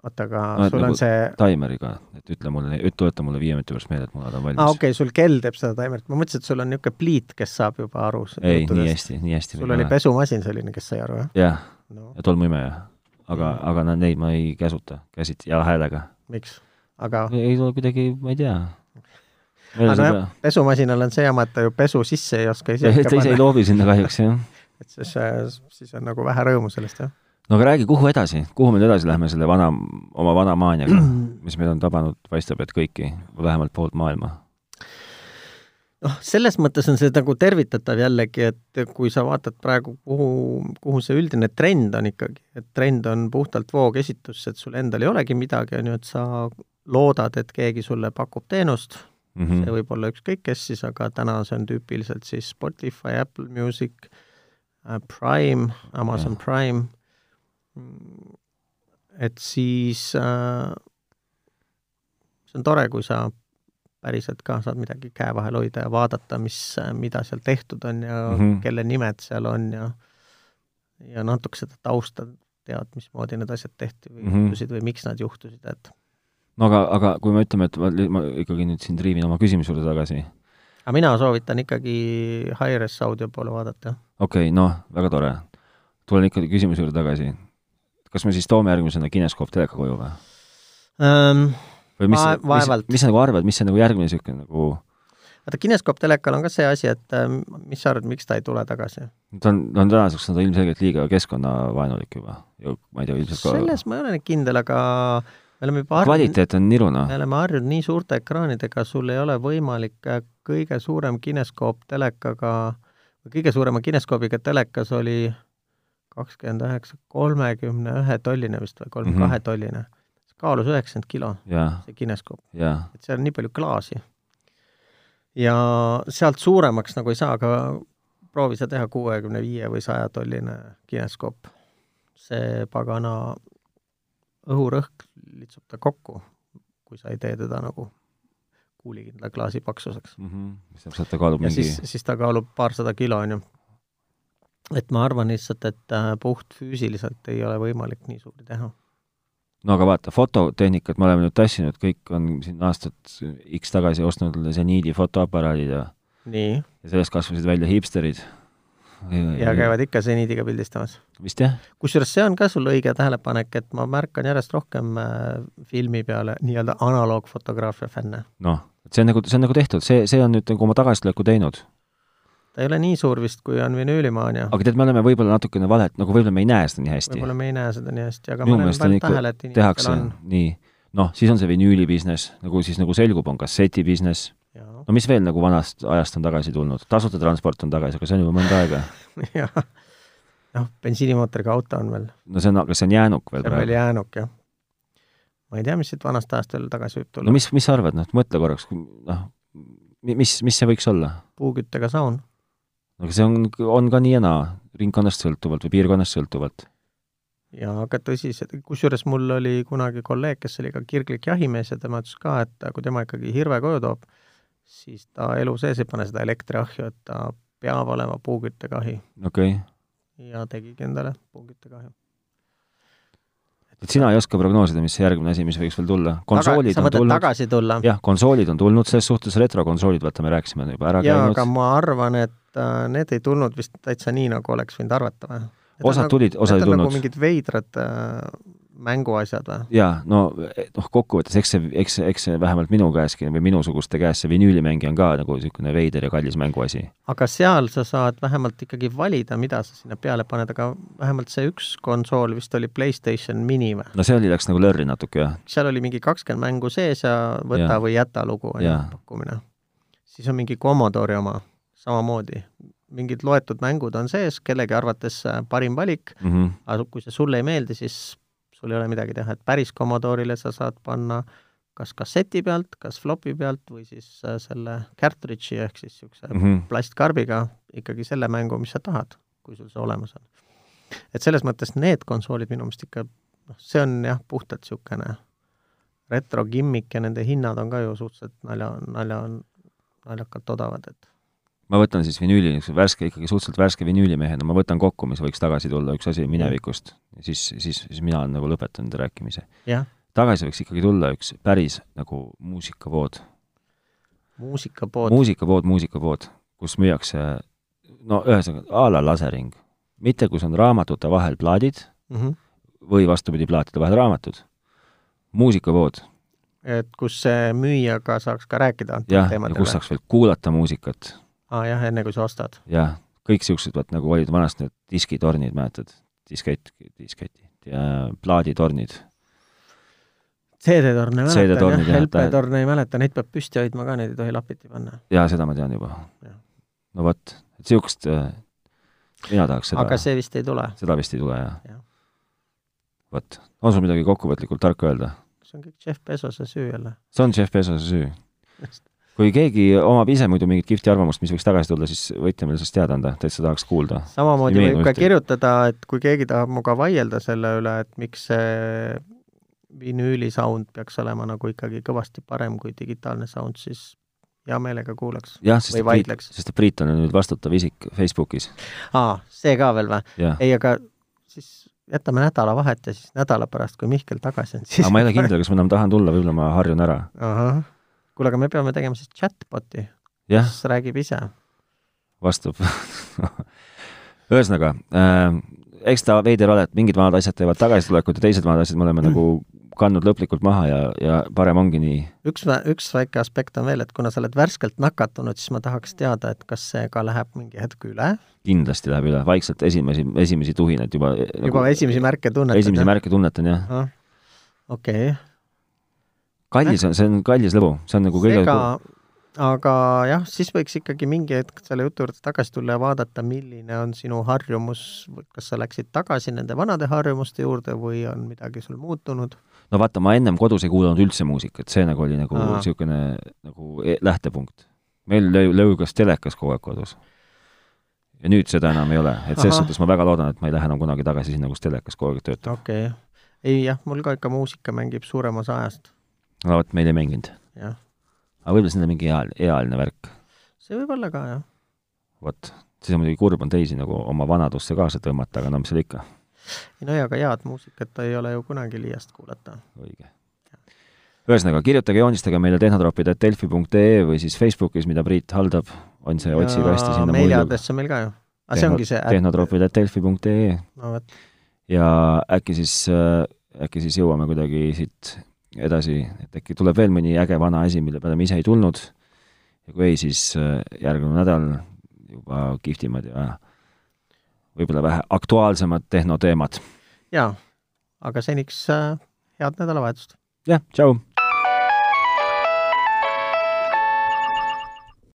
oota, aga no, sul nagu on see taimeriga, et ütle mulle, tuleta mulle viie minuti pärast meelde, et munad on valmis. aa ah,, okei okay,, sul kell teeb seda taimerit, ma mõtlesin, et sul on niisugune pliit, kes saab juba aru ei, nii hästi, nii hästi sul oli pesumasin selline, kes sai aru, jah? jah no., ja tolmuimeja. aga, aga no neid ma ei käsuta, käsit- ja häälega. miks? aga ei tule kuidagi, ma ei tea. Ah, aga nojah, pesumasinal on see jama, et ta ju pesu sisse ei oska ise ta ise ei loobi sinna kahjuks, jah. et siis, siis on nagu vähe rõõmu sellest, jah no aga räägi, kuhu edasi, kuhu me nüüd edasi lähme selle vana, oma vana maaniaga, Mm. mis meil on tabanud, paistab, et kõiki, vähemalt poolt maailma? noh, selles mõttes on see nagu tervitatav jällegi, et kui sa vaatad praegu, kuhu, kuhu see üldine trend on ikkagi, et trend on puhtalt voogesitusse, et sul endal ei olegi midagi, on ju, et sa loodad, et keegi sulle pakub teenust mm, Mhm. -hmm. see võib olla ükskõik kes siis, aga täna see on tüüpiliselt siis Spotify, Apple Music, äh, Prime, Amazon ja. Prime Mm, et siis äh, see on tore, kui sa päriselt ka saad midagi käe vahel hoida ja vaadata, mis, äh, mida seal tehtud on ja mm -hmm. kelle nimed seal on ja ja natuke seda tausta tead, mismoodi need asjad tehti või mm -hmm. juhtusid või miks nad juhtusid, et no aga, aga kui me ütleme, et ma, ma ikkagi nüüd siin triivin oma küsimuse juurde tagasi. aga mina soovitan ikkagi Hi-Res audio poole vaadata. okei okay,, noh, väga tore. tulen ikka küsimuse juurde tagasi kas me siis toome järgmisena kineskoop teleka koju või um,? või mis, mis, mis sa nagu arvad, mis see nagu järgmine niisugune nagu vaata, kineskoop telekal on ka see asi, et ehm, mis sa arvad, miks ta ei tule tagasi? ta on, ta on tänaseks, on ta ilmselgelt liiga keskkonnavaenulik juba. ma ei tea, ilmselt ka selles ma ei ole nüüd kindel, aga me oleme juba kvaliteet noh. on niruna. me oleme harjunud nii suurte ekraanidega, sul ei ole võimalik, äh, kõige suurem kineskoop telekaga, kõige suurema kineskoobiga telekas oli kakskümmend üheksa, kolmekümne ühe tolline vist või kolmekümne kahe tolline. kaalus üheksakümmend kilo, see kineskoop. et seal on nii palju klaasi. ja sealt suuremaks nagu ei saa, aga proovi sa teha kuuekümne viie või saja tolline kineskoop. see pagana õhurõhk litsub ta kokku, kui sa ei tee teda nagu kuulikindla klaasi paksuseks mm. -hmm. täpselt, ta kaalub ja mingi siis, siis ta kaalub paarsada kilo, on ju. et ma arvan lihtsalt, et äh, puhtfüüsiliselt ei ole võimalik nii suuri teha. no aga vaata, fototehnikat me oleme nüüd tassinud, kõik on siin aastad X tagasi ostnud seniidi fotoaparaadid ja nii. ja sellest kasvasid välja hipsterid. Mhm. ja käivad ikka seniidiga pildistamas. vist jah. kusjuures see on ka sul õige tähelepanek, et ma märkan järjest rohkem äh, filmi peale nii-öelda analoogfotograafia fänne. noh, et see on nagu, see on nagu tehtud, see, see on nüüd nagu oma tagasileku teinud. ta ei ole nii suur vist, kui on vinüülimaania. aga tead, me oleme võib-olla natukene valet, nagu võib-olla me ei näe seda nii hästi. võib-olla me ei näe seda nii hästi, aga Minu ma olen pannud tähele, et inimestel on. nii, noh, siis on see vinüüli business, nagu siis nagu selgub, on kasseti business Jaa. no mis veel nagu vanast ajast on tagasi tulnud, tasuta transport on tagasi, aga see on juba mõnda aega. jah, noh, bensiinimootoriga auto on veel. no see on, aga see on jäänuk veel see on veel jäänuk, jah. ma ei tea, mis siit vanast ajast veel tagasi võib tulla. no mis, mis sa arvad, noh, mõtle korraks, noh, mis, mis see võiks olla? puuküttega saun. aga see on, on ka nii ja naa, ringkonnast sõltuvalt või piirkonnast sõltuvalt. jaa, aga tõsi, see, kusjuures mul oli kunagi kolleeg, kes oli ka kirglik jahimees ja tema ütles ka, et kui tema ikkagi hirve koju toob, siis ta elu sees ei pane seda elektriahju, et ta peab olema puuküttekahi. okei okay.. ja tegigi endale puuküttekahju. et sina ei oska prognoosida, mis see järgmine asi, mis võiks veel tulla? konsoolid Taga, on tulnud, jah, konsoolid on tulnud, selles suhtes retrokonsoolid, vaata, me rääkisime juba ära jaa, aga ma arvan, et äh, need ei tulnud vist täitsa nii, nagu oleks võinud arvata või? osad nagu, tulid, osad ei tulnud. nagu mingid veidrad äh, mänguasjad või? jaa, no noh, kokkuvõttes eks see, eks, eks see vähemalt minu käeski või minusuguste käes see vinüülimängija on ka nagu niisugune veider ja kallis mänguasi. aga seal sa saad vähemalt ikkagi valida, mida sa sinna peale paned, aga vähemalt see üks konsool vist oli Playstation mini või? no see oli, läks nagu lörri natuke, jah. seal oli mingi kakskümmend mängu sees ja võta ja. või jäta lugu on ju pakkumine. siis on mingi Commodore'i oma samamoodi mingid loetud mängud on sees, kellegi arvates parim valik mm, Mhm, -hmm. aga kui see sulle ei meeldi, siis sul ei ole midagi teha, et päris Commodore'ile sa saad panna kas kasseti pealt, kas flopi pealt või siis äh, selle cartridge'i ehk siis niisuguse mm mhm. -hmm. plastkarbiga ikkagi selle mängu, mis sa tahad, kui sul see olemas on. et selles mõttes need konsoolid minu meelest ikka, noh, see on jah, puhtalt niisugune retro gimmick ja nende hinnad on ka ju suhteliselt nalja, nalja, naljakalt odavad, et ma võtan siis vinüüli, niisuguse värske, ikkagi suhteliselt värske vinüülimehena, ma võtan kokku, mis võiks tagasi tulla, üks asi minevikust, siis, siis, siis mina olen nagu lõpetanud rääkimise. tagasi võiks ikkagi tulla üks päris nagu muusikavood. muusikapood. muusikapood, muusikapood, kus müüakse no ühesõnaga, a la lasering. mitte kus on raamatute vahel plaadid mm Mhm. -hmm. või vastupidi, plaatide vahel raamatud. muusikapood et kus müüjaga saaks ka rääkida jah, ja kus saaks veel kuulata muusikat aa ah, jah, enne kui sa ostad. jah, kõik niisugused, vaat nagu olid vanasti need diskitornid, mäletad? diskett, disketid ja plaaditornid. CD-torne mäletan jah, LP-torne ei mäleta, neid peab püsti hoidma ka, neid ei tohi lapiti panna. jaa, seda ma tean juba. no vot, et niisugust mina tahaks seda. aga see vist ei tule? seda vist ei tule, jah ja.. vot, on sul midagi kokkuvõtlikult tarka öelda? see on kõik Jeff Bezose süü jälle. see on Jeff Bezose süü kui keegi omab ise muidu mingit kihvti arvamust, mis võiks tagasi tulla, siis võite meile sellest teada anda, täitsa tahaks kuulda. samamoodi võib ka kirjutada, et kui keegi tahab minuga vaielda selle üle, et miks see vinüüli sound peaks olema nagu ikkagi kõvasti parem kui digitaalne sound, siis hea meelega kuulaks jah, sest Priit, sest Priit on nüüd vastutav isik Facebookis. aa, see ka veel või? ei, aga siis jätame nädalavahet ja siis nädala pärast, kui Mihkel tagasi on, siis aga ma ei ole kindel, kas ma enam tahan tulla, võib-olla ma harjun ära. ahah kuule, aga me peame tegema siis chatbot'i, kes räägib ise. vastab ühesõnaga äh,, eks ta veider ole, et mingid vanad asjad teevad tagasitulekut ja teised vanad asjad me oleme nagu kandnud lõplikult maha ja, ja parem ongi nii. üks, üks väike aspekt on veel, et kuna sa oled värskelt nakatunud, siis ma tahaks teada, et kas see ka läheb mingi hetk üle? kindlasti läheb üle, vaikselt esimesi, esimesi tuhinaid juba. nagu juba nagu, esimesi märke tunnetad? esimesi jah? märke tunnetan, jah. okei okay kallis on, see on kallis lõbu, see on nagu kõige ega, aga jah, siis võiks ikkagi mingi hetk selle jutu juurde tagasi tulla ja vaadata, milline on sinu harjumus, kas sa läksid tagasi nende vanade harjumuste juurde või on midagi sul muutunud? no vaata, ma ennem kodus ei kuulanud üldse muusikat, see nagu oli nagu niisugune nagu lähtepunkt. meil lõi, lõi kas telekas kogu aeg kodus. ja nüüd seda enam ei ole, et selles suhtes ma väga loodan, et ma ei lähe enam kunagi tagasi sinna, kus telekas kogu aeg töötab. okei okay., ei jah, mul ka ikka muusika mängib suurem osa ajast. no vot, meil ei mänginud. jah aga võib-olla see on mingi eal-, ealine värk. see võib olla ka, jah. vot, siis on muidugi kurb on teisi nagu oma vanadusse kaasa tõmmata, aga no mis seal ikka. ei no jaa, aga head muusikat ei ole ju kunagi liiast kuulata. õige. ühesõnaga, kirjutage, joonistage meile tehnotropi.delfi.ee või siis Facebookis, mida Priit haldab, on see otsingukasti sinna meili aadress on meil ka ju. aga Tehno, see ongi see tehnotropi.delfi.ee no vot. ja äkki siis, äh, äkki siis jõuame kuidagi siit edasi, et äkki tuleb veel mõni äge vana asi, mille peale me ise ei tulnud, ja kui ei, siis äh, järgmine nädal juba kihvtimad ja võib-olla vähe aktuaalsemad tehnoteemad. jaa, aga seniks äh, head nädalavahetust! jah, tšau!